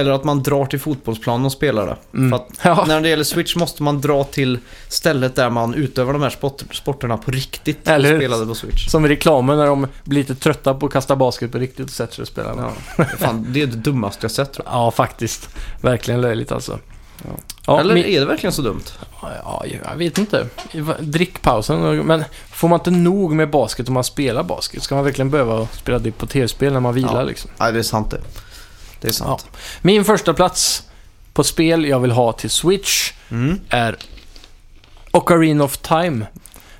B: Eller att man drar till fotbollsplanen och spelar det.
A: Mm.
B: För att
A: Ja.
B: när det gäller Switch måste man dra till stället där man utövar de här sport- sporterna på riktigt.
A: Eller hur?
B: och spelade på Switch.
A: Som i reklamen när de blir lite trötta på att kasta basket på riktigt och sätter sig och spelar.
B: Ja.
A: Ja.
B: Fan, det är det dummaste jag sett tror
A: faktiskt. Verkligen löjligt alltså.
B: Ja. jag.
A: Ja,
B: Eller
A: min-
B: är det verkligen så dumt?
A: ja, jag vet inte. Drickpausen. Men får man inte nog med basket om man spelar basket? Ska man verkligen behöva spela det på tv-spel när man vilar
B: Ja.
A: liksom?
B: Nej, det är sant det. Det är sant.
A: Min första plats på spel jag vill ha till Switch
B: Mm.
A: är Ocarina of Time.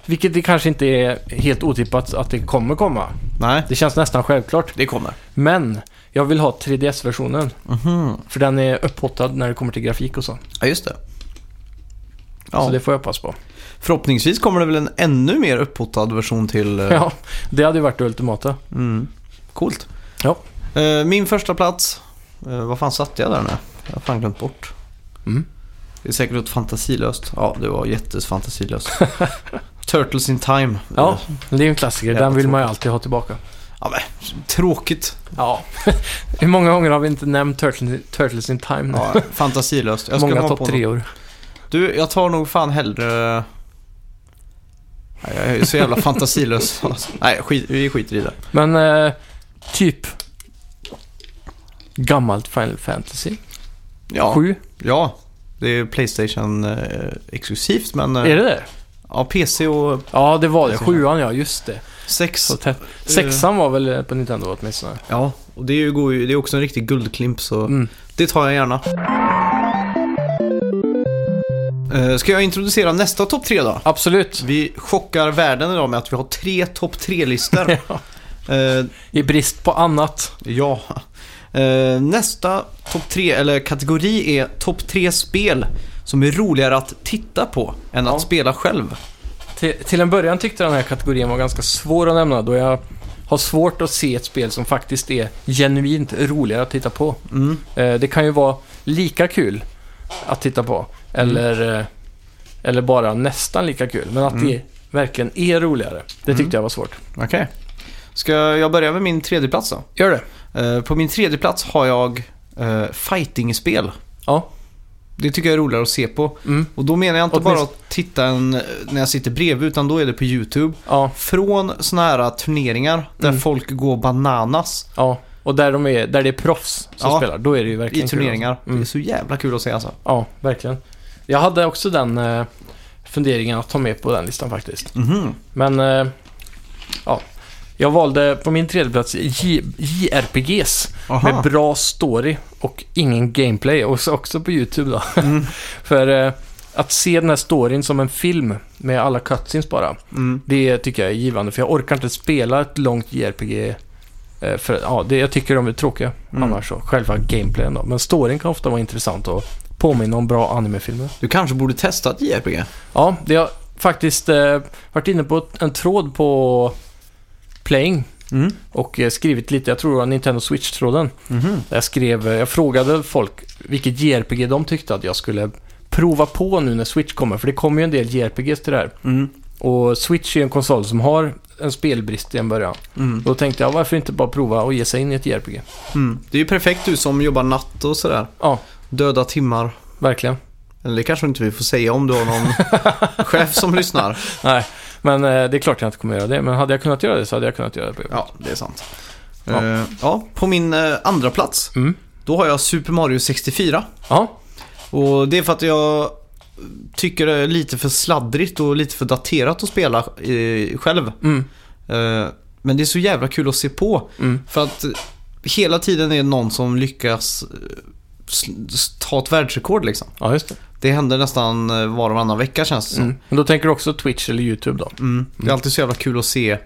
A: Vilket det kanske inte är helt otippat att det kommer komma.
B: Nej,
A: Det känns nästan självklart.
B: det kommer.
A: Men jag vill ha 3DS-versionen.
B: Mhm.
A: För den är upphottad när det kommer till grafik och så.
B: Ja, just det.
A: Så
B: Ja.
A: det får jag hoppas på.
B: Förhoppningsvis kommer det väl en ännu mer upphottad version till... eh,
A: Ja, det hade ju varit det ultimata.
B: Mm. Coolt.
A: Ja.
B: Eh, Min första plats. eh, Vad fan satte jag där nu? Jag har fan glömt bort.
A: Mm.
B: Det är säkert något fantasilöst. Ja, det var jättefantasilöst. Turtles in Time.
A: Ja,
B: Eh,
A: men det är ju en klassiker.
B: Jävla
A: Den vill man ju alltid ha tillbaka.
B: ja men, tråkigt.
A: Ja. Hur många gånger har vi inte nämnt Turtles, Turtles in Time nu?
B: Ja, fantasilöst. Jag ska
A: många
B: komma på
A: topp
B: något.
A: treor.
B: Du, jag tar nog fan hellre... Nej, jag är så jävla fantasilös. Alltså. Nej, skit, vi skiter i det.
A: Men, eh, typ... Gammalt Final Fantasy.
B: Ja,
A: Sju.
B: ja det är Playstation eh, exklusivt men... eh,
A: Är det det?
B: Ja, PC och
A: Ja, det var det.
B: Precis.
A: Sjuan, ja. Just det.
B: 6.
A: Så tätt. Sexan var väl eh, på Nintendo åtminstone?
B: Ja, och det är ju, går ju, det är också en riktig guldklimp så
A: Mm.
B: det tar jag gärna. Eh, Ska jag introducera nästa topp tre då?
A: Absolut.
B: Vi chockar världen idag med att vi har tre topp tre-listor. Eh,
A: I brist på annat.
B: Ja. Eh, nästa topp tre, eller kategori är topp tre spel som är roligare att titta på än
A: Ja.
B: att spela själv.
A: Till, till en början tyckte jag den här kategorin var ganska svår att nämna då jag har svårt att se ett spel som faktiskt är genuint roligare att titta på.
B: Mm.
A: Eh, det kan ju vara lika kul att titta på
B: Mm.
A: eller, eh, eller bara nästan lika kul. Men att
B: Mm.
A: det verkligen är roligare, det tyckte jag var svårt.
B: Okej. Ska jag börja med min tredje plats då?
A: Gör det?
B: Eh, på min tredje plats har jag eh, fightingspel.
A: Ja.
B: Det tycker jag är roligare att se på.
A: Mm.
B: Och då menar jag inte
A: Åtminstone-
B: bara att titta en, eh, när jag sitter bredvid, utan då är det på YouTube.
A: Ja.
B: Från såna här turneringar där
A: Mm.
B: folk går bananas
A: ja. Och där, de är, där det är proffs som
B: Ja.
A: spelar, då är det ju verkligen
B: i
A: kul.
B: turneringar.
A: Mm.
B: Det är så jävla kul att se alltså.
A: Ja, verkligen. Jag hade också den eh, funderingen att ta med på den listan faktiskt.
B: Mhm.
A: Men, eh, ja. Jag valde på min tredje plats J- JRPGs
B: Aha.
A: med bra story och ingen gameplay. Och så också på YouTube då. För eh, att se den här storyn som en film med alla cutscenes bara,
B: Mm.
A: det tycker jag är givande. För jag orkar inte spela ett långt JRPG Eh, För, ja, det, jag tycker de är tråkiga
B: Mm.
A: annars, så, själva gameplayen då. Men storyn kan ofta vara intressant och påminna om bra animefilmer.
B: Du kanske borde testa ett JRPG.
A: Ja, det har faktiskt eh, varit inne på en tråd på Playing
B: Mm.
A: och eh, skrivit lite, jag tror det var Nintendo Switch-tråden.
B: Mhm.
A: Där Jag skrev, eh, jag frågade folk vilket JRPG de tyckte att jag skulle prova på nu när Switch kommer, för det kommer ju en del JRPGs till det här.
B: Mm.
A: Och Switch är ju en konsol som har en spelbrist i en början.
B: Mm.
A: Då tänkte jag, varför inte bara prova och ge sig in i ett JRPG?
B: Mm. Det är ju perfekt du som jobbar natt och sådär.
A: Ja,
B: Döda timmar.
A: verkligen.
B: Eller det kanske inte vi får säga om du har någon chef som lyssnar.
A: Nej, men eh, det är klart jag inte kommer göra det. Men hade jag kunnat göra det så hade jag kunnat göra det.
B: Ja, det är sant.
A: Ja.
B: Ja, ja på min eh, andra plats.
A: Mm.
B: Då har jag Super Mario 64.
A: Ja,
B: Och det är för att jag tycker det är lite för sladdrigt och lite för daterat att spela eh, själv.
A: mm,
B: Eh, men det är så jävla kul att se på.
A: mm,
B: För att eh, hela tiden är det någon som lyckas eh, sl- s- ta ett världsrekord liksom.
A: ja just det.
B: Det händer nästan eh, var och varannan vecka känns det som.
A: Mm. Men då tänker du också Twitch eller YouTube då?
B: Mm. Det är alltid så jävla kul att se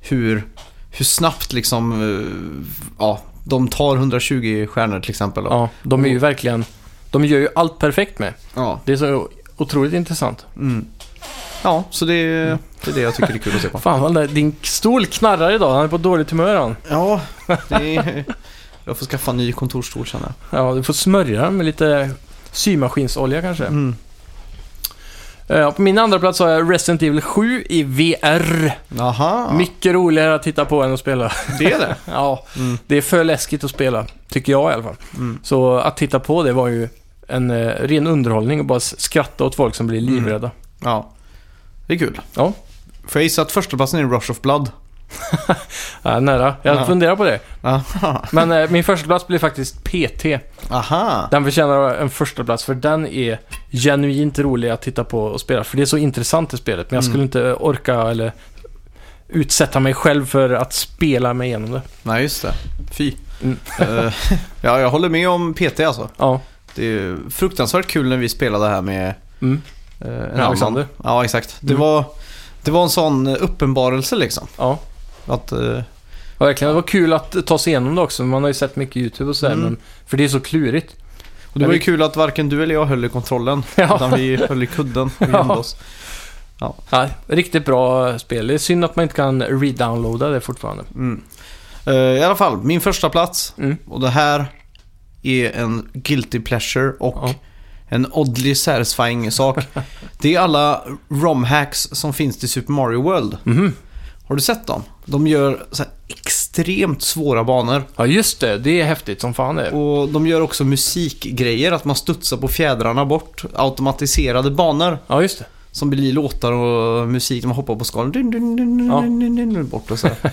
B: hur, hur snabbt liksom, eh, ja, de tar 120 stjärnor till exempel.
A: Ja, de är ju verkligen, de gör ju allt perfekt med.
B: Ja.
A: Det är så otroligt intressant.
B: Mm. ja, så det, är- det är det jag tycker är kul att se på.
A: Fan vad den där- din stol knarrar idag, han är på dåligt humör han.
B: Ja, det är, jag får skaffa en ny kontorsstol känner jag.
A: Ja, du får smörja den med lite symaskinsolja kanske.
B: Mm.
A: Eh, på min andra plats har jag Resident Evil 7 i VR.
B: Aha,
A: Mycket roligare att titta på än att spela.
B: det är det.
A: ja,
B: Mm.
A: det är för läskigt att spela, tycker jag i alla fall.
B: Mm.
A: Så att titta på det var ju en eh, ren underhållning och bara s- skratta åt folk som blir livrädda.
B: Mm. Ja, det är kul.
A: Ja.
B: Får jag gissa att förstaplatsen är Rush of Blood?
A: Ja, nära. Jag
B: Ja.
A: funderar på det.
B: Aha,
A: Men eh, min första plats blir faktiskt PT.
B: Aha.
A: Den förtjänar en första plats för den är genuint rolig att titta på och spela. För det är så intressant i spelet. Men jag skulle
B: Mm.
A: inte orka eller utsätta mig själv för att spela mig igenom det.
B: nej just det. Fy.
A: Mm.
B: Eh, ja, jag håller med om PT alltså.
A: Ja.
B: Det är fruktansvärt kul när vi spelade här med
A: Mm.
B: eh, en
A: Alexander.
B: annan- Ja, exakt. Det,
A: Mm.
B: var, det var en sån uppenbarelse liksom.
A: ja.
B: Att, eh,
A: Ja, verkligen. Det var kul att ta sig igenom det också. Man har ju sett mycket YouTube och sådär.
B: Mm.
A: Men, för det är så klurigt.
B: och det var ju kul att varken du eller jag höll i kontrollen.
A: Ja.
B: Utan vi höll i kudden och gömde
A: Ja.
B: oss.
A: Nej, riktigt bra spel. Det är synd att man inte kan redownloada det fortfarande.
B: Mm. Eh, I alla fall, min första plats
A: Mm.
B: Och det här är en guilty pleasure och
A: Ja.
B: en oddly satisfying sak. Det är alla romhacks som finns till Super Mario World.
A: Mhm.
B: Har du sett dem? De gör så här extremt svåra banor.
A: Ja, just det. Det är häftigt som fan det. är.
B: Och de gör också musikgrejer, att man studsar på fjädrarna bort. Automatiserade banor
A: Ja, just det.
B: som blir låtar och musik när man hoppar på skalen. Dun, dun, dun, dun,
A: Ja.
B: dun, dun, dun, dun, bort och så här.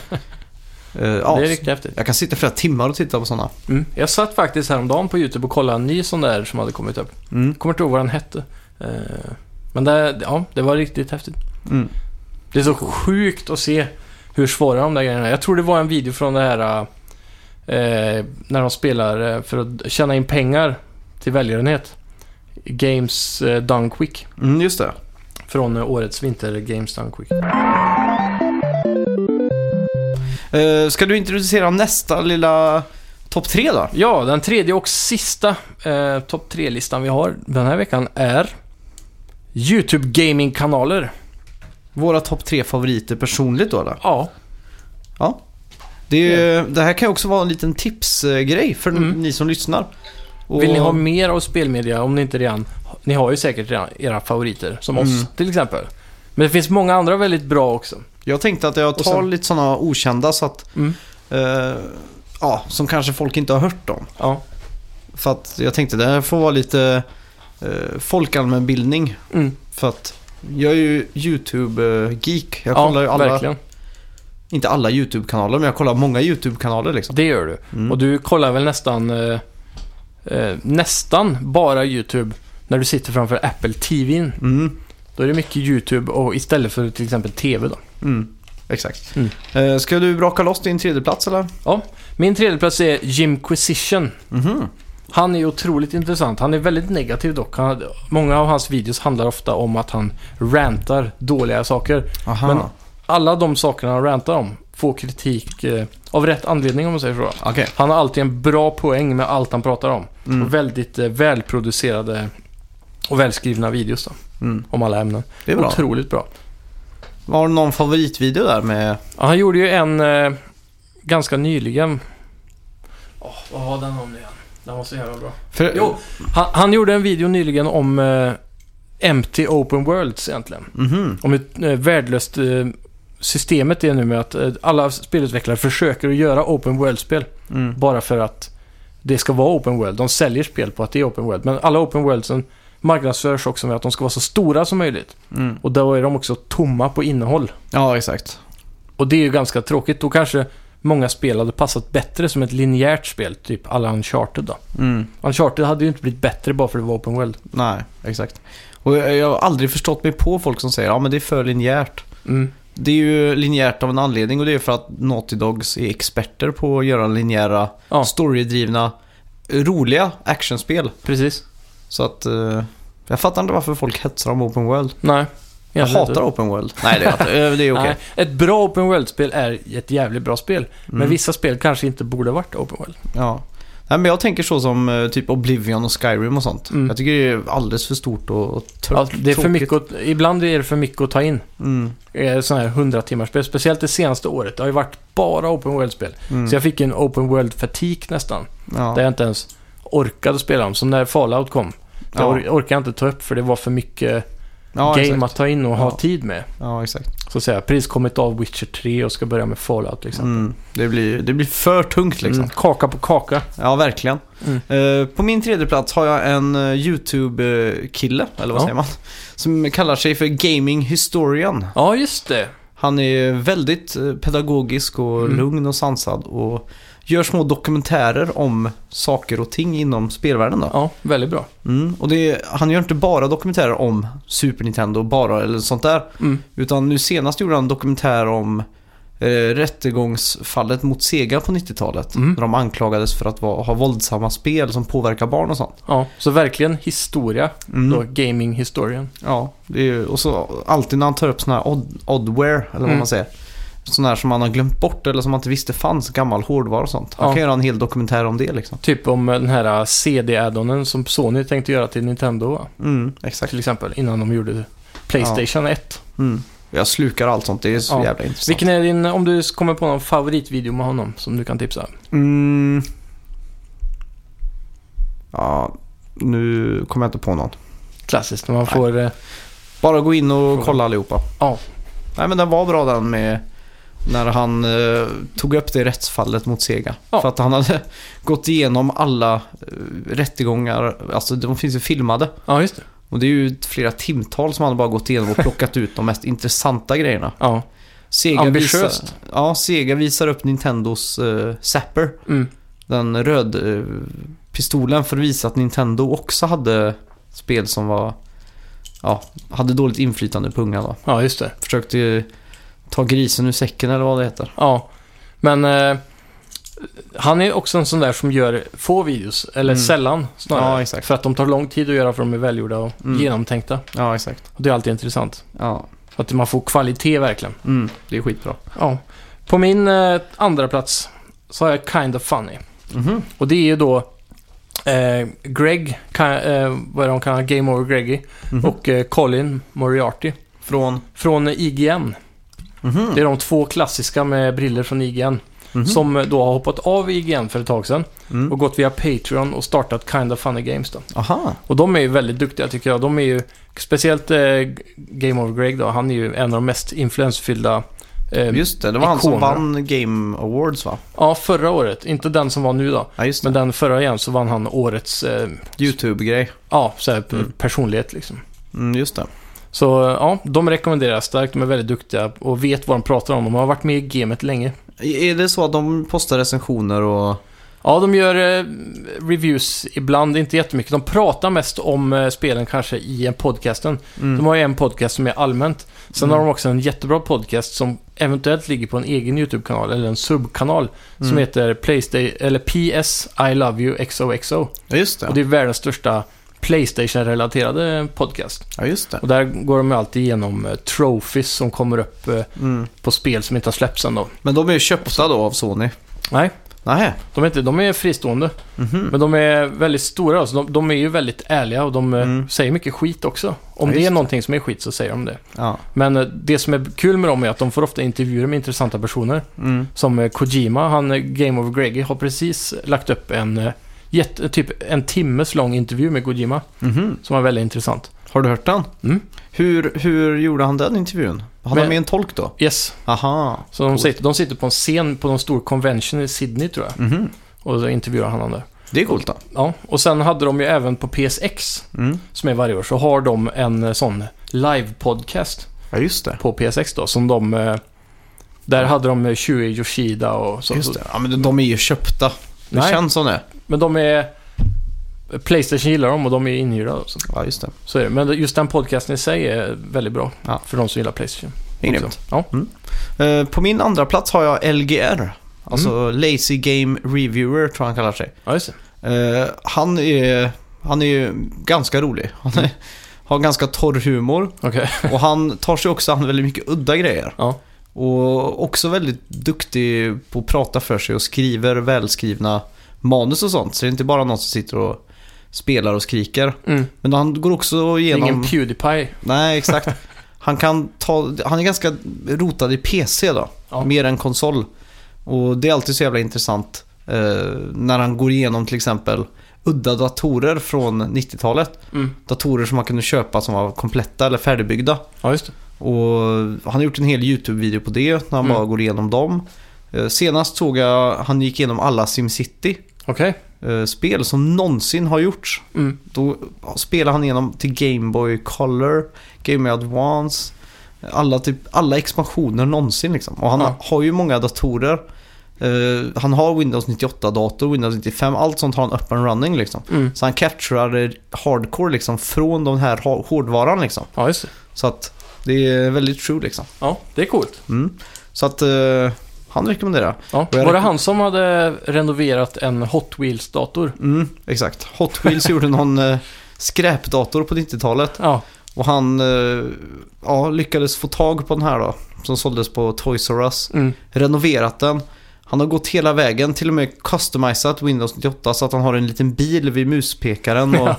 B: Eh, ja,
A: Det är riktigt häftigt.
B: jag kan sitta flera timmar och titta på sådana.
A: Mm. Jag satt faktiskt häromdagen på YouTube och kollade en ny sån där som hade kommit upp.
B: Mm.
A: Jag kommer inte ihåg vad den hette. Eh, Men det, ja, det var riktigt häftigt.
B: Mm.
A: Det är så sjukt att se hur svåra de där grejerna är. Jag tror det var en video från det här eh, när de spelar eh, för att tjäna in pengar till välgörenhet. Games eh, Done Quick.
B: Mm, just det.
A: Från eh, årets vinter Games Done Quick.
B: Eh, ska du introducera nästa lilla topp tre då?
A: Ja, den tredje och sista eh, topp tre-listan vi har den här veckan är YouTube Gaming-kanaler.
B: Våra topp tre favoriter personligt då? Eller?
A: Ja,
B: Ja. Det, är- det här kan också vara en liten tipsgrej för
A: Mm.
B: ni som lyssnar. Och-
A: Vill ni ha mer av spelmedia om ni inte redan... Ni har ju säkert redan era favoriter, som
B: Mm.
A: oss till exempel. Men det finns många andra väldigt bra också.
B: Jag tänkte att jag
A: Och
B: tar
A: sen-
B: lite sådana okända så att,
A: Mm.
B: eh, ja, som kanske folk inte har hört om.
A: Ja.
B: För att jag tänkte det här får vara lite eh, folkallmänbildning.
A: Mm.
B: För att jag är ju YouTube-geek. Jag kollar ju
A: ja,
B: alla,
A: verkligen.
B: inte alla YouTube-kanaler, men jag kollar många YouTube-kanaler liksom.
A: Det gör du.
B: Mm.
A: Och du kollar väl nästan... Eh, eh, nästan bara YouTube när du sitter framför Apple TVn.
B: Mm.
A: Då är det mycket YouTube och istället för till exempel TV då.
B: Mm, exakt.
A: Mm.
B: Eh, ska du braka loss din tredjeplats eller?
A: Ja. Min tredje plats är Jimquisition.
B: Mhm.
A: Han är otroligt intressant. Han är väldigt negativ dock. Han, många av hans videos handlar ofta om att han rantar dåliga saker.
B: Aha.
A: Men- Alla de sakerna han rantar om får kritik eh, av rätt anledning om man säger så.
B: Okej.
A: Han har alltid en bra poäng med allt han pratar om. Och
B: Mm.
A: väldigt eh, välproducerade och välskrivna videos då,
B: Mm.
A: om alla ämnen.
B: Det är bra.
A: Otroligt bra.
B: Har du någon favoritvideo där med...
A: Ja, han gjorde ju en eh, ganska nyligen. Åh, vad har den om nu igen? Den var så jävla bra.
B: För...
A: Jo, han, han gjorde en video nyligen om eh, empty open worlds egentligen.
B: Mhm.
A: Om hur eh, värdelöst eh, systemet är nu med att eh, alla spelutvecklare försöker att göra open world-spel.
B: Mm.
A: Bara för att det ska vara open world. De säljer spel på att det är open world. Men alla open worldsen marknadsförs också med att de ska vara så stora som möjligt.
B: Mm.
A: Och då är de också tomma på innehåll.
B: Ja, exakt.
A: Och det är ju ganska tråkigt. Då kanske många spel hade passat bättre som ett linjärt spel. Typ alla Uncharted då.
B: Mm.
A: Uncharted hade ju inte blivit bättre bara för att det var open world.
B: Nej, exakt. Och jag jag har aldrig förstått mig på folk som säger ja men det är för linjärt.
A: Mm.
B: Det är ju linjärt av en anledning och det är för att Naughty Dogs är experter på att göra linjära,
A: Ja.
B: storydrivna, roliga actionspel.
A: Precis.
B: Så att eh, jag fattar inte varför folk hetsar om Open World.
A: Nej.
B: Jag
A: egentligen
B: hatar Open World. Nej, det, är inte. Eh, det är okej.
A: Nej, ett bra open world-spel är ett jävligt bra spel.
B: Mm.
A: Men vissa spel kanske inte borde varit open world.
B: Ja. Nej, men jag tänker så som eh, typ Oblivion och Skyrim och sånt.
A: Mm.
B: Jag tycker det är alldeles för stort och, och tör-
A: Ja, det är för
B: tråkigt.
A: mycket att, ibland är det för mycket att ta in.
B: Mm.
A: Sådana här 100 timmars spel. Speciellt det senaste året. Det har ju varit bara open world-spel.
B: Mm.
A: Så jag fick en open world-fatik nästan.
B: ja.
A: Där jag inte ens orkade spela dem. Som när Fallout kom. Det
B: Ja.
A: or- orkade jag inte ta upp för det var för mycket
B: ja,
A: game
B: exakt.
A: att ta in och
B: Ja.
A: ha tid med.
B: Ja, exakt.
A: Så att säga. Precis kommit av Witcher 3 och ska börja med Fallout liksom.
B: Mm. Det, blir, det blir för tungt liksom.
A: Mm, kaka på kaka.
B: Ja, verkligen.
A: Mm.
B: Eh, på min tredje plats har jag en eh, YouTube-kille, eller vad
A: Ja.
B: säger man? Som kallar sig för Gaming Historian.
A: Ja, just det.
B: Han är väldigt eh, pedagogisk och
A: Mm.
B: lugn och sansad och gör små dokumentärer om saker och ting inom spelvärlden. Då.
A: Ja, väldigt bra.
B: Mm. Och det är, han gör inte bara dokumentärer om Super Nintendo bara eller sånt där.
A: Mm.
B: Utan nu senast gjorde han en dokumentär om eh, rättegångsfallet mot Sega på 90-talet.
A: Mm.
B: När de anklagades för att va, ha våldsamma spel som påverkar barn och sånt.
A: Ja, så verkligen historia.
B: Mm.
A: Då, gaming historien.
B: Ja, det är, ju- och så alltid när han tar upp sådana här odd, oddware, eller vad
A: Mm.
B: man säger. Sådana här som man har glömt bort eller som man inte visste fanns, gammal hårdvara och sånt. Han
A: Ja.
B: kan göra en hel dokumentär om det liksom.
A: Typ om den här CD-addonen som Sony tänkte göra till Nintendo, va?
B: Mm, exakt.
A: till exempel, innan de gjorde Playstation 1.
B: Mm. Jag slukar allt sånt, det är så
A: Ja.
B: jävla intressant.
A: Vilken är din, om du kommer på någon favoritvideo med honom som du kan tipsa?
B: Mm. Ja, nu kommer jag inte på någon.
A: Klassiskt, när man
B: Nej.
A: får... eh,
B: Bara gå in och kolla allihopa.
A: Ja.
B: Nej men den var bra den med när han eh, tog upp det rättsfallet mot Sega.
A: Ja.
B: För att han hade gått igenom alla eh, rättegångar, alltså de finns ju filmade.
A: Ja, just det.
B: Och det är ju flera timtal som han bara gått igenom och plockat ut de mest intressanta grejerna.
A: Ja.
B: Sega
A: Ambitiöst.
B: Visar, ja, Sega visar upp Nintendos eh, Zapper,
A: Mm.
B: den röd eh, pistolen för att visa att Nintendo också hade spel som var, ja, hade dåligt inflytande på unga då
A: ja, just det.
B: försökte ju ta grisen ur säcken eller vad det heter.
A: Ja. Men... Eh, han är också en sån där som gör få videos, eller
B: Mm.
A: sällan snarare.
B: Ja, exakt.
A: För att de tar lång tid att göra för de är välgjorda och
B: Mm.
A: genomtänkta.
B: Ja, exakt.
A: Och det är alltid intressant.
B: Ja,
A: Att man får kvalitet verkligen.
B: mm, det är skitbra.
A: Ja. På min eh, andra plats så har jag Kind of Funny.
B: Mhm.
A: Och det är ju då eh, Greg, kan, eh, vad är det de kallar Game Over Greggy,
B: Mhm.
A: och eh, Colin Moriarty
B: Från?
A: från
B: Mm.
A: IGN.
B: Mhm.
A: Det är de två klassiska med briller från IGN.
B: Mhm.
A: Som eh, då har hoppat av IGN för ett tag sedan
B: Mm.
A: och gått via Patreon och startat Kind of Funny Games då.
B: Aha.
A: Och de är ju väldigt duktiga tycker jag. De är ju, speciellt eh, Game Over Greg då, han är ju en av de mest influensfyllda eh,
B: Just det, det var han som
A: Ikoner.
B: vann Game Awards va?
A: Ja, förra året. Inte den som var nu då.
B: Ja, just det.
A: Men den förra igen så vann han årets eh,
B: YouTube-grej.
A: ja, så här, p-
B: Mm.
A: personlighet liksom.
B: Mm, just det.
A: Så ja, de rekommenderar jag starkt. De är väldigt duktiga och vet vad de pratar om. De har varit med i gamet länge.
B: I- Är det så att de postar recensioner och...
A: Ja, de gör eh, reviews ibland, inte jättemycket. De pratar mest om eh, spelen kanske i en podcasten.
B: Mm.
A: De har ju en podcast som är allmänt. Sen
B: Mm.
A: har de också en jättebra podcast som eventuellt ligger på en egen YouTube-kanal eller en subkanal som
B: Mm.
A: heter Playstation, eller PS I Love You XOXO.
B: Ja, just det.
A: Och det är världens största Playstation-relaterade podcast.
B: Ja, just det.
A: Och där går de ju alltid igenom eh, trophies som kommer upp eh,
B: Mm.
A: på spel som inte har släppts än då.
B: Men de är ju köpta då av Sony.
A: Nej,
B: Nej.
A: de är, inte, de är fristående.
B: Mhm.
A: Men de är väldigt stora. Alltså de, de är ju väldigt ärliga och de eh,
B: Mm.
A: säger mycket skit också. Om
B: Ja,
A: det
B: just
A: är
B: det.
A: någonting som är skit så säger de det.
B: Ja.
A: Men eh, det som är kul med dem är att de får ofta intervjuer med intressanta personer.
B: Mm.
A: Som eh, Kojima, han eh, Game of Greggy, har precis lagt upp en eh, jätte, typ en timmes lång intervju med Kojima.
B: Mhm.
A: Som var väldigt intressant.
B: Har du hört den?
A: Mm.
B: Hur, hur gjorde han den intervjun? Hade
A: Men-
B: han med en tolk då?
A: Yes,
B: Aha.
A: så de
B: Coolt.
A: sitter, de sitter på en scen på någon stor convention i Sydney tror jag.
B: Mhm.
A: Och så intervjuar han honom där.
B: Det är coolt då.
A: Ja, och sen hade de ju även på PSX,
B: Mm.
A: som är varje år, så har de en eh, sån live-podcast
B: Ja, just det.
A: på PSX då, som de... eh, Där hade de eh, Shuei Yoshida och så.
B: Just det. Ja, men de- de är ju köpta. Det
A: Nej.
B: känns som det.
A: Men de är... Playstation gillar dem och de är inhyrda. och Så,
B: Ja, just det.
A: så är det. Men just den podcasten i sig är väldigt bra
B: Ja.
A: för de som gillar Playstation.
B: Det är grymt.
A: Så, Ja.
B: Eh, På min andra plats har jag LGR. Alltså Lazy Game Reviewer tror jag han kallar sig.
A: ja, just det.
B: Eh, han, är, han är ju ganska rolig. Han är, har ganska torr humor
A: Okej.
B: och han tar sig också an väldigt mycket udda grejer.
A: Ja.
B: Och också väldigt duktig på att prata för sig och skriver välskrivna manus och sånt. Så det är inte bara någon som sitter och spelar och skriker.
A: Mm.
B: Men han går också
A: Det är
B: igenom...
A: Ingen Pewdiepie.
B: Nej, exakt. Han kan ta, han är ganska rotad i PC då.
A: Ja.
B: Mer än konsol. Och det är alltid så jävla intressant eh, när han går igenom till exempel udda datorer från 90-talet.
A: Mm.
B: Datorer som man kunde köpa som var kompletta eller färdigbyggda.
A: Ja, just det.
B: Och han har gjort en hel YouTube-video på det när han
A: Mm.
B: bara går igenom dem. Eh, senast såg jag han gick igenom alla SimCity-spel
A: Okej.
B: som någonsin har gjorts.
A: Mm.
B: Då spelar han igenom till Game Boy Color, Game Boy Advance, alla, typ, alla expansioner någonsin liksom. Och han
A: Ja.
B: har ju många datorer. Eh, han har Windows 98-dator, Windows 95, allt sånt har han up and running liksom.
A: Mm.
B: Så han capturar hardcore liksom från den här ha- hårdvaran liksom.
A: Ja, just det.
B: Så att det är väldigt true liksom.
A: Ja, det är coolt.
B: Mm. Så att eh, han rekommenderar jag.
A: Ja.
B: jag
A: Var det
B: rekom-
A: han som hade renoverat en Hot Wheels-dator?
B: Mm, exakt. Hot Wheels gjorde någon eh, skräpdator på 90-talet.
A: Ja,
B: Och han eh, ja, lyckades få tag på den här då. Som såldes på Toys R Us.
A: mm.
B: Renoverat den. Han har gått hela vägen, till och med customisat Windows 98 så att han har en liten bil vid muspekaren och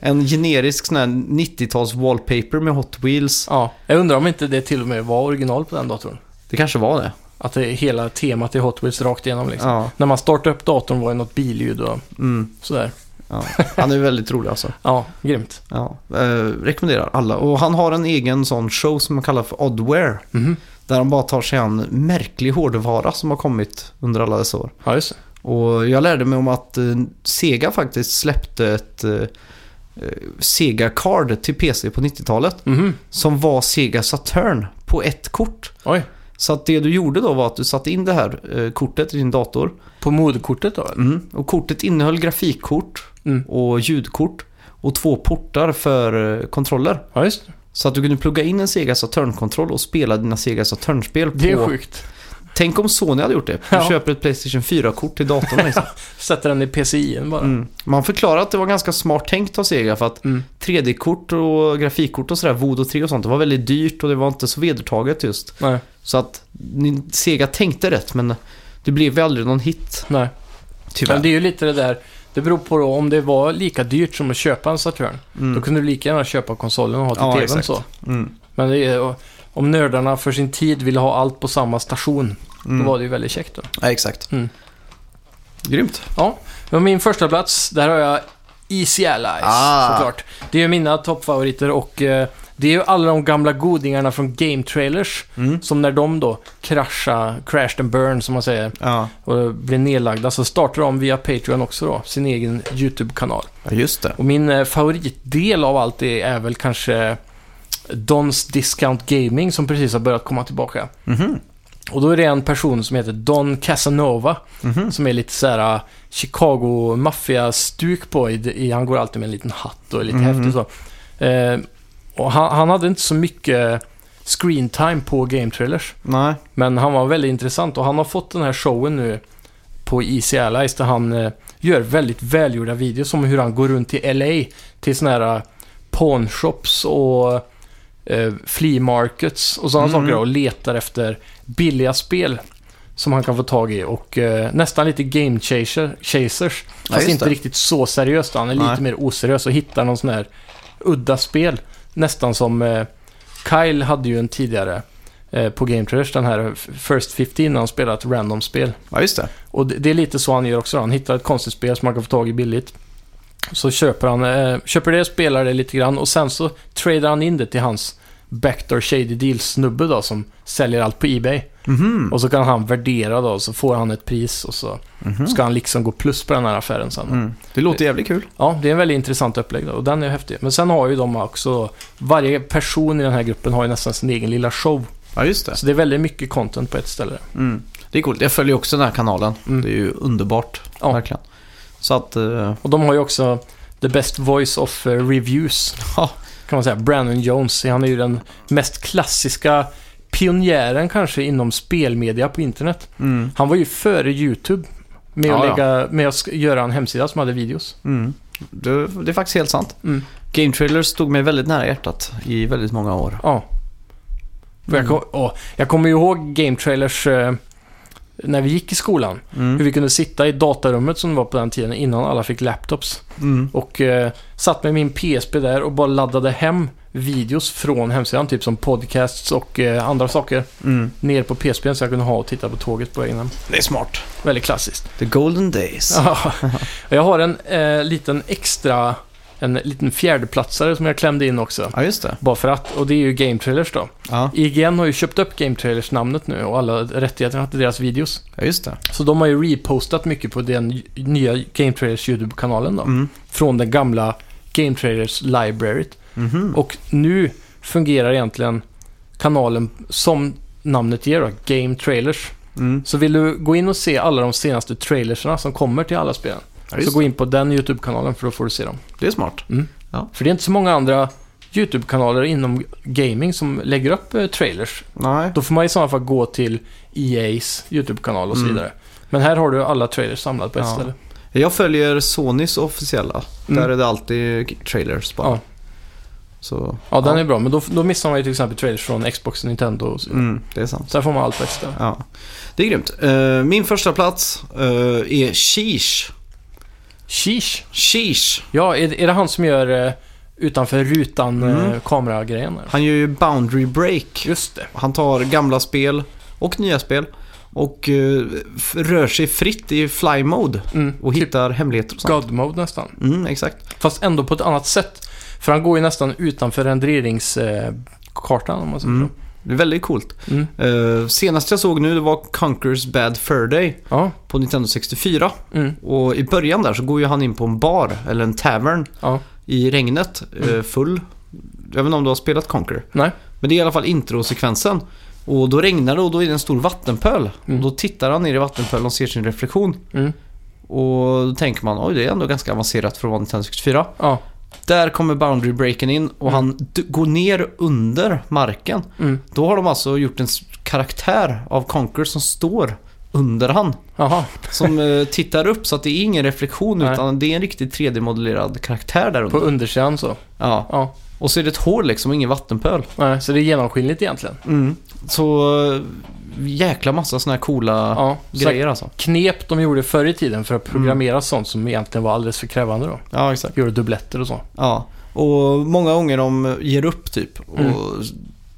B: en generisk sån här 90-tals wallpaper med Hot Wheels.
A: ja. Jag undrar om inte det till och med var original på den datorn.
B: Det kanske var det.
A: Att det är hela temat i Hot Wheels rakt igenom liksom.
B: Ja,
A: När man startade upp datorn var det något billjud och
B: mm,
A: sådär.
B: ja. Han är väldigt rolig alltså.
A: Ja, grymt.
B: Ja, eh, rekommenderar alla. Och han har en egen sån show som man kallar för Oddware.
A: Mhm.
B: Där han bara tar sig an märklig hårdvara som har kommit under alla dessa år.
A: Ja, just det.
B: Och jag lärde mig om att eh, Sega faktiskt släppte ett eh, eh, Sega-card till PC på 90-talet.
A: Mhm.
B: Som var Sega Saturn på ett kort.
A: Oj.
B: Så att det du gjorde då var att du satte in det här eh, kortet i din dator.
A: På moderkortet då? eller?
B: Och kortet innehöll grafikkort
A: Mm.
B: och ljudkort. Och två portar för eh, kontroller.
A: Ja, just det.
B: Så att du kunde plugga in en Sega Saturn-kontroll och spela dina Sega Saturn-spel på...
A: Det är sjukt.
B: Tänk om Sony hade gjort det. Du
A: Ja.
B: köper ett Playstation 4-kort till datorn liksom.
A: Sätter den i PCI bara.
B: Mm. Man förklarar att det var ganska smart tänkt av Sega för att
A: Mm.
B: 3D-kort och grafikkort och sådär, Voodoo 3 och sånt, det var väldigt dyrt och det var inte så vedertaget just.
A: Nej,
B: Så att ni- Sega tänkte rätt men det blev ju aldrig någon hit
A: nej.
B: tyvärr.
A: Men det är ju lite det där. Det beror på då, om det var lika dyrt som att köpa en Saturn. Då
B: mm.
A: kunde du lika gärna köpa konsolen och ha till
B: Ja,
A: tvn
B: exakt.
A: så.
B: Mm.
A: Men det är, om nördarna för sin tid ville ha allt på samma station,
B: Mm.
A: då var det ju väldigt käckt då.
B: Ja, exakt.
A: Mm.
B: Grymt.
A: Ja, men min första plats där har jag Easy Allies
B: Ah.
A: såklart. Det är ju mina toppfavoriter och eh, det är ju alla de gamla godingarna från Game Trailers.
B: Mm.
A: Som när de då kraschar, crashed and burn som man säger,
B: Ja.
A: och blir nedlagda så startar de via Patreon också då, sin egen YouTube-kanal.
B: ja, just det.
A: Och min eh, favoritdel av allt det är väl kanske Dons Discount Gaming som precis har börjat komma tillbaka.
B: Mhm.
A: Och då är det en person som heter Don Casanova
B: Mhm.
A: som är lite så här uh, Chicago maffia-stuk på. I, i, han går alltid med en liten hatt och är lite
B: Mhm.
A: häftig och så. Eh, och han, han hade inte så mycket screen time på Game Trailers.
B: Nej.
A: Men han var väldigt intressant och han har fått den här showen nu på Easy Allies där han eh, gör väldigt välgjorda videos om hur han går runt i LA till såna här eh, pawnshops och eh, flea markets och sådana
B: Mm.
A: saker och letar efter billiga spel som han kan få tag i och eh, nästan lite game chaser, chasers. Fast
B: just
A: inte
B: det.
A: riktigt så seriöst. Han är
B: Nej.
A: lite mer oseriös och hittar någon sån här udda spel. Nästan som eh, Kyle hade ju en tidigare eh, på Game Trash, den här First 15 när han spelat random spel.
B: Ja, just det.
A: Och det, det är lite så han gör också. Han hittar ett konstigt spel som han kan få tag i billigt. Så köper han eh, köper det, spelar det lite grann och sen så tradar han in det till hans Backdoor Shady Deal-snubbe då som säljer allt på Ebay.
B: Mhm.
A: Och så kan han värdera då, så får han ett pris och så
B: Mhm.
A: ska han liksom gå plus på den här affären sen.
B: Mm. Det låter jävligt kul.
A: Ja, det är en väldigt intressant upplägg då, och den är häftig. Men sen har ju de också, varje person i den här gruppen har ju nästan sin egen lilla show.
B: Ja, just det.
A: Så det är väldigt mycket content på ett ställe.
B: Mm. Det är coolt. Jag följer också den här kanalen.
A: Mm.
B: Det är ju underbart.
A: Ja.
B: Verkligen. Så att... eh,
A: Och de har ju också the best voice of eh, reviews,
B: ja.
A: kan man säga. Brandon Jones, han är ju den mest klassiska pionjären kanske inom spelmedia på internet.
B: Mm.
A: Han var ju före YouTube med att,
B: Ja, ja.
A: lägga, med att sk- göra en hemsida som hade videos.
B: Mm. Det, det är faktiskt helt sant.
A: Mm.
B: Game Trailers stod mig väldigt nära hjärtat i väldigt många år.
A: Ja. För
B: Mm.
A: Jag, kom, åh, jag kommer ju ihåg Game Trailers eh, när vi gick i skolan. Hur
B: Mm.
A: vi kunde sitta i datarummet som det var på den tiden innan alla fick laptops.
B: Mm.
A: Och eh, satt med min PSP där och bara laddade hem videos från hemsidan. Typ som podcasts och eh, andra saker.
B: Mm.
A: Ner på PSPn så jag kunde ha och titta på tåget på vägen hem.
B: Det är smart.
A: Väldigt klassiskt.
B: The Golden Days.
A: Ja. Jag har en eh, liten extra, en liten fjärdeplatsare som jag klämde in också.
B: Ja, just det.
A: Bara för att, och det är ju Game Trailers då.
B: Ja,
A: IGN har ju köpt upp Game Trailers namnet nu och alla rättigheterna till deras videos.
B: ja just det.
A: Så de har ju repostat mycket på den j- nya Game Trailers YouTube-kanalen då.
B: Mm.
A: Från den gamla Game Trailers Libraryt.
B: Mhm.
A: Och nu fungerar egentligen kanalen som namnet ger då, Game Trailers.
B: Mm.
A: Så vill du gå in och se alla de senaste trailerserna som kommer till alla spelen.
B: Ja, just
A: så gå in på den YouTube-kanalen för då får du se dem.
B: Det är smart.
A: För det är inte så många andra YouTube-kanaler inom gaming som lägger upp eh, trailers
B: Nej.
A: då får man i sådana fall gå till EA's YouTube-kanal och så
B: Mm.
A: vidare. Men här har du alla trailers samlat på ett
B: Ja.
A: ställe.
B: Jag följer Sonys officiella.
A: Mm.
B: Där är det alltid trailers bara.
A: Ja.
B: Så,
A: Ja, den är bra. Men då, då missar man ju till exempel trailers från Xbox och Nintendo. Och så. vidare.
B: Mm, det är sant.
A: så här får man allt på ett ställe.
B: Ja. Det är grymt. Eh, min första plats eh, är Sheesh.
A: Sheesh!
B: Sheesh.
A: Ja, är, är det han som gör eh, utanför rutan
B: Mm.
A: eh, kameragrejen? eller?
B: Han gör ju Boundary Break.
A: Just det.
B: Han tar gamla spel och nya spel och eh, f- rör sig fritt i fly mode
A: Mm.
B: och
A: typ
B: hittar hemligheter och sånt.
A: God-mode nästan.
B: Mm, exakt.
A: Fast ändå på ett annat sätt. För han går ju nästan utanför renderingskartan eh, kartan, om man säger
B: Mm.
A: så.
B: Det är väldigt coolt.
A: Mm.
B: Eh, senast jag såg nu det var Conquer's Bad Fur Day
A: Ja,
B: på Nintendo 64.
A: mm.
B: Och i början där så går ju han in på en bar, eller en tavern,
A: ja.
B: i regnet. eh, full. Jag vet inte om du har spelat Conquer.
A: Mm. Nej.
B: Men det är i alla fall introsekvensen. Och då regnar det och då är det en stor vattenpöl.
A: Mm.
B: Och då tittar han ner i vattenpölen och ser sin reflektion.
A: Mm.
B: Och då tänker man, oj det är ändå ganska avancerat för att vara Nintendo 64.
A: Ja.
B: Där kommer boundary breaken in och
A: Mm.
B: han d- går ner under marken.
A: Mm.
B: Då har de alltså gjort en s- karaktär av Conker som står under han.
A: Jaha.
B: Som eh, tittar upp så att det är ingen reflektion
A: Nej.
B: utan det är en riktigt 3D-modellerad karaktär där
A: På
B: under.
A: undersidan så.
B: Ja.
A: Ja.
B: Och så är det ett hål liksom och ingen vattenpöl.
A: Nej, så det är genomskinligt egentligen.
B: Så eh, jäkla massa såna här coola
A: Ja, Mm.
B: grejer alltså.
A: knep de gjorde förr i tiden för att programmera sånt som egentligen var alldeles för krävande då.
B: Ja, exakt.
A: Gjorde dubbletter och så.
B: Ja. Och många gånger de ger upp typ.
A: Mm.
B: Och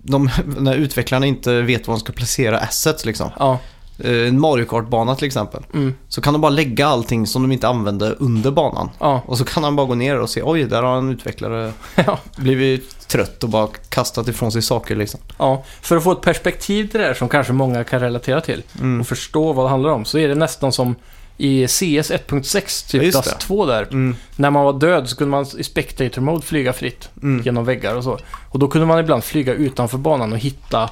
B: de, när utvecklarna inte vet var de ska placera assets liksom.
A: Ja,
B: Eh, En Mario Kart-bana till exempel.
A: mm,
B: Så kan de bara lägga allting som de inte använde under banan.
A: ja,
B: Och så kan han bara gå ner och se, oj, där har en utvecklare
A: Ja.
B: blivit trött och bara kastat ifrån sig saker liksom.
A: ja. För att få ett perspektiv till det här som kanske många kan relatera till
B: Mm.
A: och förstå vad det handlar om så är det nästan som i CS 1.6,
B: Ja,
A: typ
B: just
A: Dust
B: det.
A: 2 där.
B: Mm.
A: När man var död så kunde man i Spectator Mode flyga fritt
B: Mm.
A: genom väggar och så. Och då kunde man ibland flyga utanför banan och hitta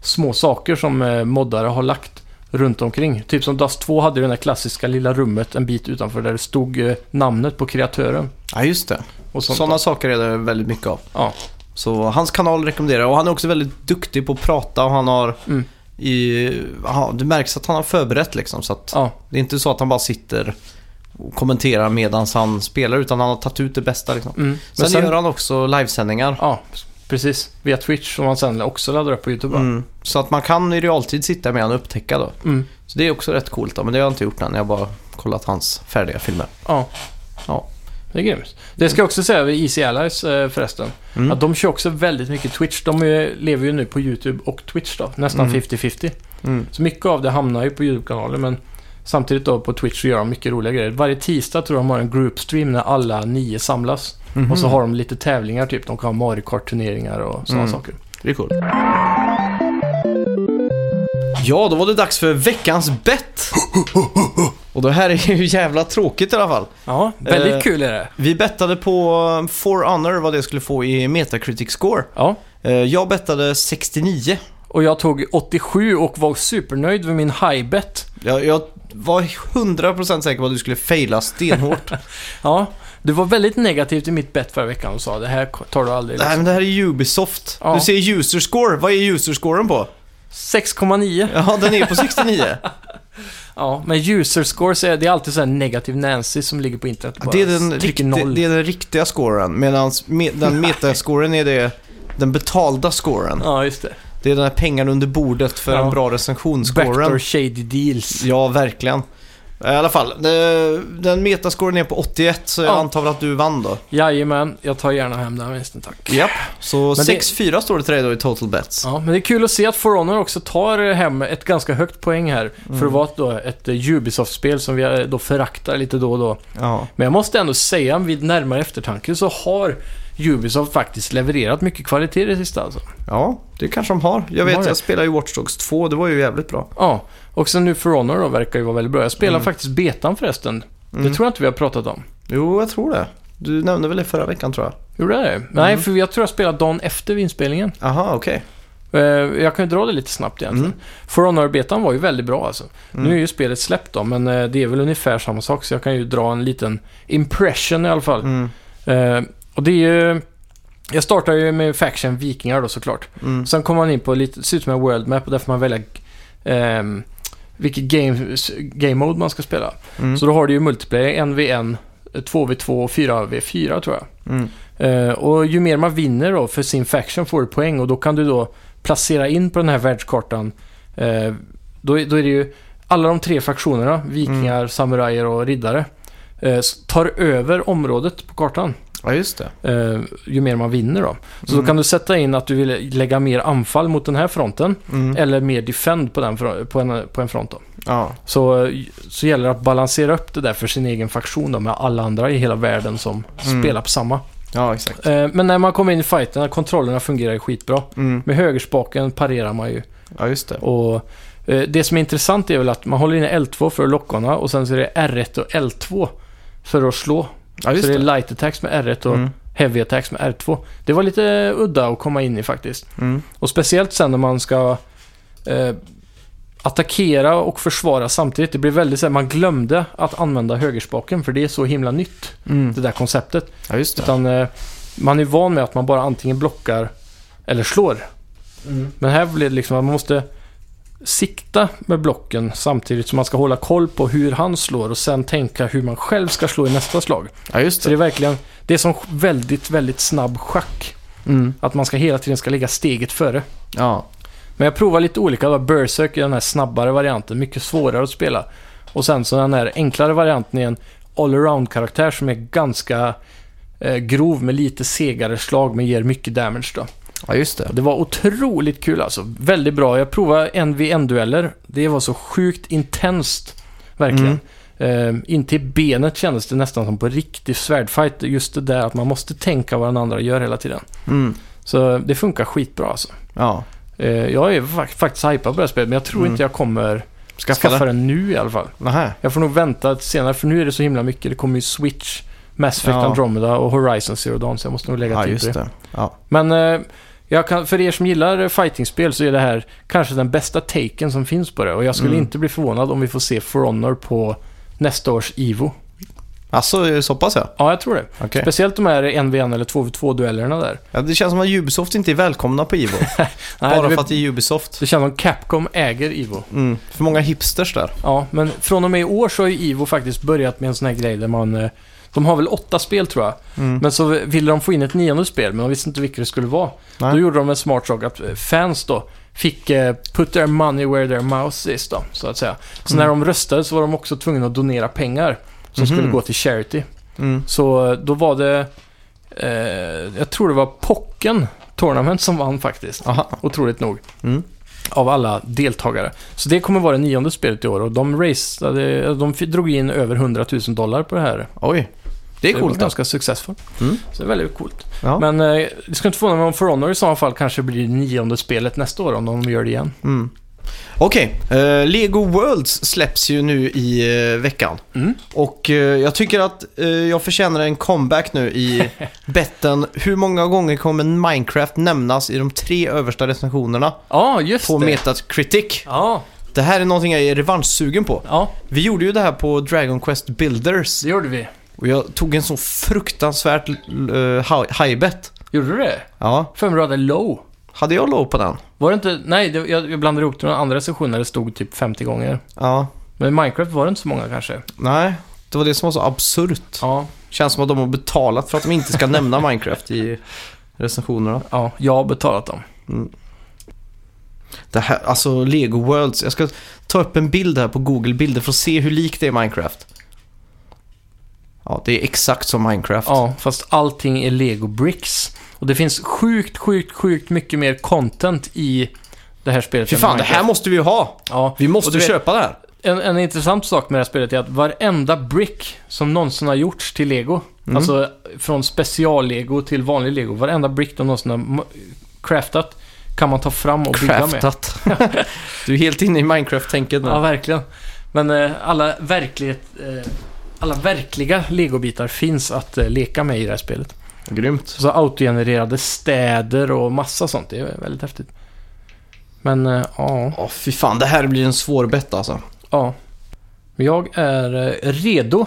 A: små saker som eh, moddare har lagt runt omkring. Typ som Dust 2 hade ju det där klassiska lilla rummet en bit utanför där det stod eh, namnet på kreatören.
B: Ja, just det.
A: Och sånt
B: Sådana saker är det väldigt mycket av.
A: Ja.
B: Så hans kanal rekommenderar jag. och han är också väldigt duktig på att prata och han har
A: Mm.
B: i, aha, det märks att han har förberett liksom så att
A: Ja,
B: det är inte så att han bara sitter och kommenterar medan han spelar utan han har tagit ut det bästa liksom.
A: Mm. Men
B: Sen,
A: sen-
B: gör han också livesändningar.
A: Ja, precis. Via Twitch som man sen också laddar upp på YouTube. va?
B: Mm. Så att man kan i realtid sitta med honom och upptäcka då.
A: Mm.
B: Så det är också rätt coolt då, men det har jag inte gjort än. Jag har bara kollat hans färdiga filmer.
A: Ja.
B: Ja.
A: Det är grymt. Det ska jag också säga vid Easy Allies eh, förresten.
B: Mm.
A: Att de kör också väldigt mycket Twitch. De är, lever ju nu på YouTube och Twitch då. Nästan
B: Mm.
A: 50-50.
B: Mm.
A: Så mycket av det hamnar ju på YouTube-kanalen men samtidigt då på Twitch så gör de mycket roliga grejer. Varje tisdag tror jag de har en groupstream när alla nio samlas. Och
B: Mm-hmm.
A: så har de lite tävlingar typ. De kan ha Mario Kart-turneringar och sådana
B: Mm.
A: saker.
B: Det är coolt. Ja, då var det dags för veckans bett. Och det här är ju jävla tråkigt i alla fall.
A: Ja, väldigt
B: Eh.
A: kul är det.
B: Vi bettade på um, For Honor vad det skulle få i Metacritic score.
A: Ja.
B: Eh, Jag bettade 69.
A: Och jag tog 87 och var supernöjd med min high bet.
B: Jag, jag var 100% säker på att du skulle faila stenhårt.
A: Ja, du var väldigt negativ till mitt bet förra veckan och sa det här tar du aldrig.
B: Nej, men det här är Ubisoft.
A: liksom- Ja.
B: Du säger user score. Vad är user scoren på?
A: 6,9.
B: Ja, den är på 69.
A: Ja, men user scores är, det är alltid så här negativ Nancy som ligger på internet och bara
B: Det är, den
A: trycker
B: rikti,
A: noll.
B: det är den riktiga scoren, medan me, den metascoren är det, den betalda scoren.
A: Ja, just det.
B: Det är den här pengarna under bordet för
A: Ja.
B: en bra recension-scoren.
A: Backdoor shady deals.
B: Ja, verkligen. I alla fall, eh, den metascoren är på 81, så jag
A: Ja.
B: antar väl att du vann då.
A: Jajamän, jag tar gärna hem den vinsten tack.
B: Japp. Så
A: Men det-
B: 6-4 står det till dig då i total bets.
A: Ja, men det är kul att se att For Honor också tar hem ett ganska högt poäng här.
B: Mm.
A: För att vara ett, då, ett eh, Ubisoft-spel som vi eh, då föraktar lite då och då.
B: Ja.
A: Men jag måste ändå säga, vid närmare eftertanke så har Ubisoft faktiskt levererat mycket kvalitet i det sista alltså.
B: ja, det kanske de har. Jag vet,
A: har det.
B: jag spelade ju Watch Dogs 2, det var ju jävligt bra.
A: Ja, och sen nu For Honor då verkar ju vara väldigt bra. Jag spelar
B: Mm.
A: faktiskt betan förresten. Det tror jag inte vi har pratat om.
B: Jo, jag tror det. Du nämnde väl det förra veckan tror jag?
A: Gjorde jag det? Nej,
B: Mm.
A: för jag tror jag spelade dagen efter inspelningen.
B: Aha, okej. Mm.
A: Eh, Jag kan ju dra det lite snabbt egentligen. For Honor-betan var ju väldigt bra alltså. Nu är ju spelet släppt då, men eh, det är väl ungefär samma sak, så jag kan ju dra en liten impression i alla fall.
B: Mm.
A: Eh, Och det är ju... Jag startar ju med Faction Vikingar då såklart.
B: Mm.
A: Sen kommer man in på lite, ser ut som en world map och där får man välja ehm, vilket game, game mode man ska spela.
B: Mm.
A: Så då har du ju multiplayer, 1v1, 2v2 och 4v4 tror jag.
B: Mm.
A: Eh, och ju mer man vinner då för sin faction får du poäng och då kan du då placera in på den här världskartan. Eh, då, är- då är det ju alla de tre fraktionerna, vikingar, samurajer och riddare, eh, s- tar över området på kartan.
B: Ja, just det.
A: Eh, ju mer man vinner då. Så
B: Mm.
A: då kan du sätta in att du vill lägga mer anfall mot den här fronten
B: Mm.
A: eller mer defend på, den, fro- på, en, på en front då.
B: Ja.
A: Så, så gäller det att balansera upp det där för sin egen faktion då med alla andra i hela världen som
B: Mm.
A: spelar på samma.
B: ja, exakt.
A: Eh, Men när man kommer in i fighten, kontrollerna fungerar ju skitbra.
B: Mm.
A: Med högerspaken parerar man ju.
B: Ja, just det.
A: Och eh, det som är intressant är väl att man håller inne L2 för lockorna och sen så är det R1 och L2 för att slå.
B: Ja,
A: så
B: just
A: det är
B: det.
A: light attacks med R1 och
B: Mm.
A: heavy attacks med R2. Det var lite udda att komma in i faktiskt.
B: Mm.
A: Och speciellt sen när man ska eh, attackera och försvara samtidigt. Det blir väldigt så här, man glömde att använda högerspaken för det är så himla nytt,
B: Mm.
A: det där konceptet.
B: Ja, just det.
A: Utan eh, man är van med att man bara antingen blockar eller slår. Men här blir det liksom att man måste sikta med blocken samtidigt som man ska hålla koll på hur han slår och sen tänka hur man själv ska slå i nästa slag.
B: Ja, just
A: Så det är verkligen, det är som väldigt, väldigt snabb schack.
B: Mm.
A: Att man ska hela tiden ska ligga steget före.
B: Ja.
A: Men jag provar lite olika. Det var Berserk är den här snabbare varianten, mycket svårare att spela. Och sen så den här enklare varianten är en allround-karaktär som är ganska eh, grov med lite segare slag men ger mycket damage då.
B: ja, just det.
A: Och det var otroligt kul alltså. Väldigt bra. Jag provade NVN-dueller. Det var så sjukt intenst. Verkligen.
B: Mm.
A: Eh, in till benet kändes det nästan som på riktig svärdfight. Just det där att man måste tänka vad den andra gör hela tiden.
B: Mm.
A: Så det funkar skitbra alltså.
B: Ja.
A: Eh, Jag är fak- faktiskt hypad på det här spelet, men jag tror
B: Mm.
A: inte jag kommer
B: Skaffa,
A: skaffa
B: det.
A: den nu i alla fall.
B: Nähä.
A: Jag får nog vänta till senare, för nu är det så himla mycket. Det kommer ju Switch, Mass Effect
B: Ja.
A: Andromeda och Horizon Zero Dawn, så jag måste nog lägga
B: Ja,
A: tid på
B: just
A: det.
B: det. Ja.
A: Men eh, jag kan, för er som gillar eh, fightingspel så är det här kanske den bästa taken som finns på det. Och jag skulle
B: Mm.
A: inte bli förvånad om vi får se For Honor på nästa års Evo.
B: Alltså, är det så pass ja.
A: Ja, jag tror det.
B: Okej.
A: Speciellt de här 1v1 eller 2v2-duellerna där.
B: ja. Det känns som att Ubisoft inte är välkomna på Ivo.
A: Nej,
B: bara
A: det,
B: för att det är Ubisoft.
A: det känns som Capcom äger Ivo.
B: Mm. För många hipsters där.
A: Ja, men från och med i år så har ju Ivo faktiskt börjat med en sån här grej där man... eh, De har väl åtta spel tror jag.
B: Mm.
A: Men så ville de få in ett nionde spel, men de visste inte vilket det skulle vara.
B: Nej.
A: Då gjorde de en smart sak att eh, fans då fick eh, put their money where their mouth is då, så att säga. Så
B: Mm.
A: när de röstade så var de också tvungna att donera pengar som
B: Mhm.
A: skulle gå till charity.
B: Mm.
A: Så eh, då var det, eh, jag tror det var Pocken Tournament som vann faktiskt.
B: Aha.
A: Otroligt nog.
B: Mm.
A: Av alla deltagare. Så det kommer vara det nionde spelet i år och de, raceade, de f- drog in över 100 000 dollar på det här.
B: Oj. Det är
A: Så var
B: coolt alltså.
A: ganska successful.
B: Mm.
A: Så det är väldigt coolt.
B: Ja.
A: Men eh, det ska inte förvåna mig om For Honor i så fall kanske blir det nionde spelet nästa år om de gör det igen.
B: Mm. Okej, eh, Lego Worlds släpps ju nu i eh, veckan.
A: Mm.
B: Och eh, jag tycker att eh, jag förtjänar en comeback nu i betten. Hur många gånger kommer Minecraft nämnas i de tre översta recensionerna
A: Ja, just
B: på
A: det.
B: Metacritic?
A: Ja,
B: Det här är någonting jag är revanschsugen på.
A: ja,
B: Vi gjorde ju det här på Dragon Quest Builders
A: det gjorde vi.
B: och jag tog en så fruktansvärt uh, high bet.
A: Gjorde du det?
B: Ja,
A: För mig du hade low.
B: hade jag låg på den?
A: Var det inte, nej, det, jag, jag blandade ihop det med andra sessioner där det stod typ 50 gånger.
B: Ja,
A: Men i Minecraft var det inte så många kanske.
B: nej. Det var det som var så absurt.
A: Ja,
B: Känns som att de har betalat för att de inte ska nämna Minecraft i recensionerna.
A: ja jag har betalat dem.
B: Det här, alltså Lego Worlds. Jag ska ta upp en bild här på Google Bilder för att se hur likt det är Minecraft. Ja, det är exakt som Minecraft.
A: Ja, fast allting är Lego Bricks. Och det finns sjukt, sjukt, sjukt mycket mer content i det här spelet.
B: Fy
A: än i
B: fan, det här
A: Minecraft.
B: måste vi ju ha!
A: Ja,
B: Vi
A: Och
B: måste
A: du vet-
B: köpa det här.
A: En, en intressant sak med det här spelet är att varenda brick som någonsin har gjorts till lego,
B: Mm.
A: alltså från special-lego till vanlig lego, varenda brick de någonsin har ma- craftat kan man ta fram och bygga med.
B: Craftat. du är helt inne i Minecraft-tänket nu.
A: Ja, verkligen. Men eh, alla, verklighet, eh, alla verkliga legobitar finns att eh, leka med i det här spelet.
B: Grymt.
A: Så autogenererade städer och massa sånt, det är väldigt häftigt. Men eh, ja,
B: Ja, fy fan, det här blir en svår bett alltså.
A: ja. Men Jag är eh, redo.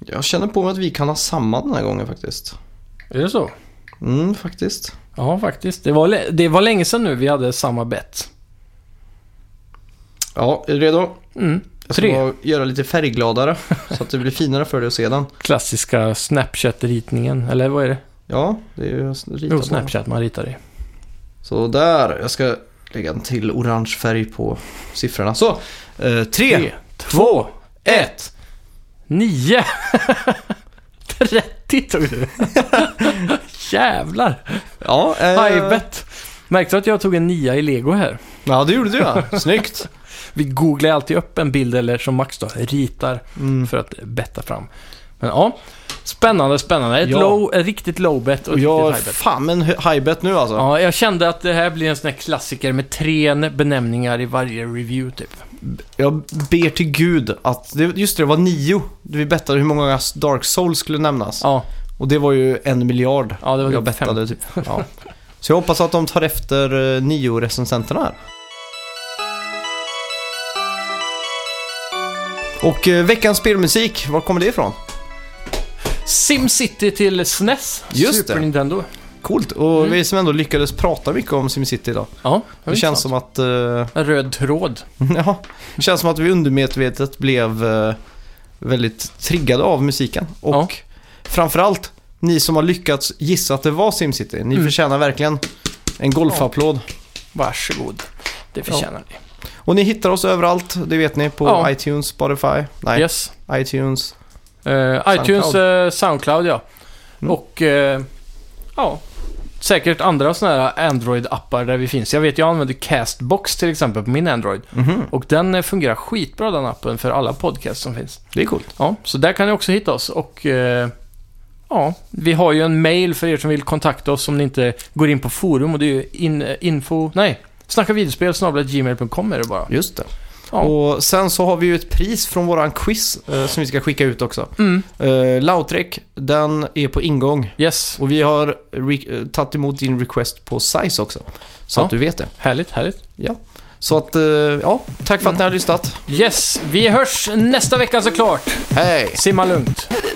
B: Jag känner på mig att vi kan ha samma den här gången faktiskt.
A: Är det så?
B: Mm, faktiskt.
A: Ja, faktiskt. Det var, lä- det var länge sedan nu vi hade samma bett.
B: Ja, är du redo?
A: Mm.
B: Jag ska
A: Tre.
B: bara göra lite färggladare så att det blir finare för dig att se den.
A: Klassiska Snapchat-ritningen, eller vad är det?
B: Ja, det är ju att rita
A: Jo,
B: på. den.
A: Snapchat man ritar i.
B: Så där, jag ska lägga en till orange färg på siffrorna. Så, eh, tre,
A: Tre,
B: två, ett.
A: nio, 30 tog du. Jävlar!
B: Ja, eh,
A: High bet. Märkte du att jag tog en nia i lego här?
B: ja, det gjorde du ja. Snyggt.
A: Vi googlar alltid upp en bild, eller som Max då, ritar
B: Mm.
A: för att betta fram. Men ja, spännande, spännande. Ett
B: Ja.
A: low, ett riktigt low bet och
B: Och
A: ett
B: jag
A: riktigt high
B: har
A: bet.
B: fan en high bet nu alltså.
A: Ja, jag kände att det här blir en sån här klassiker med tre benämningar i varje review typ.
B: Jag ber till gud att, det, just det, det var nio. Vi bettade hur många Dark Souls skulle nämnas.
A: Ja,
B: Och det var ju en miljard.
A: ja det var
B: Jag
A: typ fem.
B: bettade typ. Ja. Så jag hoppas att de tar efter eh, nio recensenterna här. Och eh, veckans spelmusik, var kommer det ifrån?
A: SimCity till SNES,
B: Just
A: Super
B: det.
A: Nintendo.
B: Coolt, och
A: Mm.
B: vi som ändå lyckades prata mycket om SimCity idag.
A: Ja,
B: Det känns som att... eh,
A: En röd tråd.
B: ja, det känns som att vi undermedvetet blev eh, väldigt triggade av musiken. Och
A: Ja.
B: framförallt, ni som har lyckats gissa att det var SimCity, ni
A: Mm.
B: förtjänar verkligen en golfapplåd.
A: Varsågod. Det förtjänar ni.
B: Och ni hittar oss överallt, det vet ni, på
A: Ja.
B: iTunes, Spotify, nej,
A: Yes.
B: iTunes.
A: Eh, iTunes, eh, Soundcloud ja.
B: Mm.
A: Och eh, ja, säkert andra sådana här Android-appar där vi finns. Jag vet, jag använder Castbox till exempel på min Android.
B: Mhm,
A: Och den eh, fungerar skitbra den appen för alla podcasts som finns.
B: Det är coolt.
A: Ja, så där kan ni också hitta oss och eh, ja, vi har ju en mail för er som vill kontakta oss om ni inte går in på forum och det är ju in, eh, info, nej, snacka videospel gmail.com är det bara.
B: Just det.
A: Ja.
B: Och sen så har vi ju ett pris från våran quiz eh, som vi ska skicka ut också.
A: Mm,
B: Eh, Lautrec, den är på ingång.
A: yes,
B: Och vi har re- eh, tagit emot din request på size också. Så
A: Ja.
B: att du vet det.
A: härligt, härligt.
B: Så att, eh, ja,
A: Mm.
B: tack för att ni har lyssnat.
A: Yes, vi hörs nästa vecka såklart.
B: Hej!
A: Simma lugnt.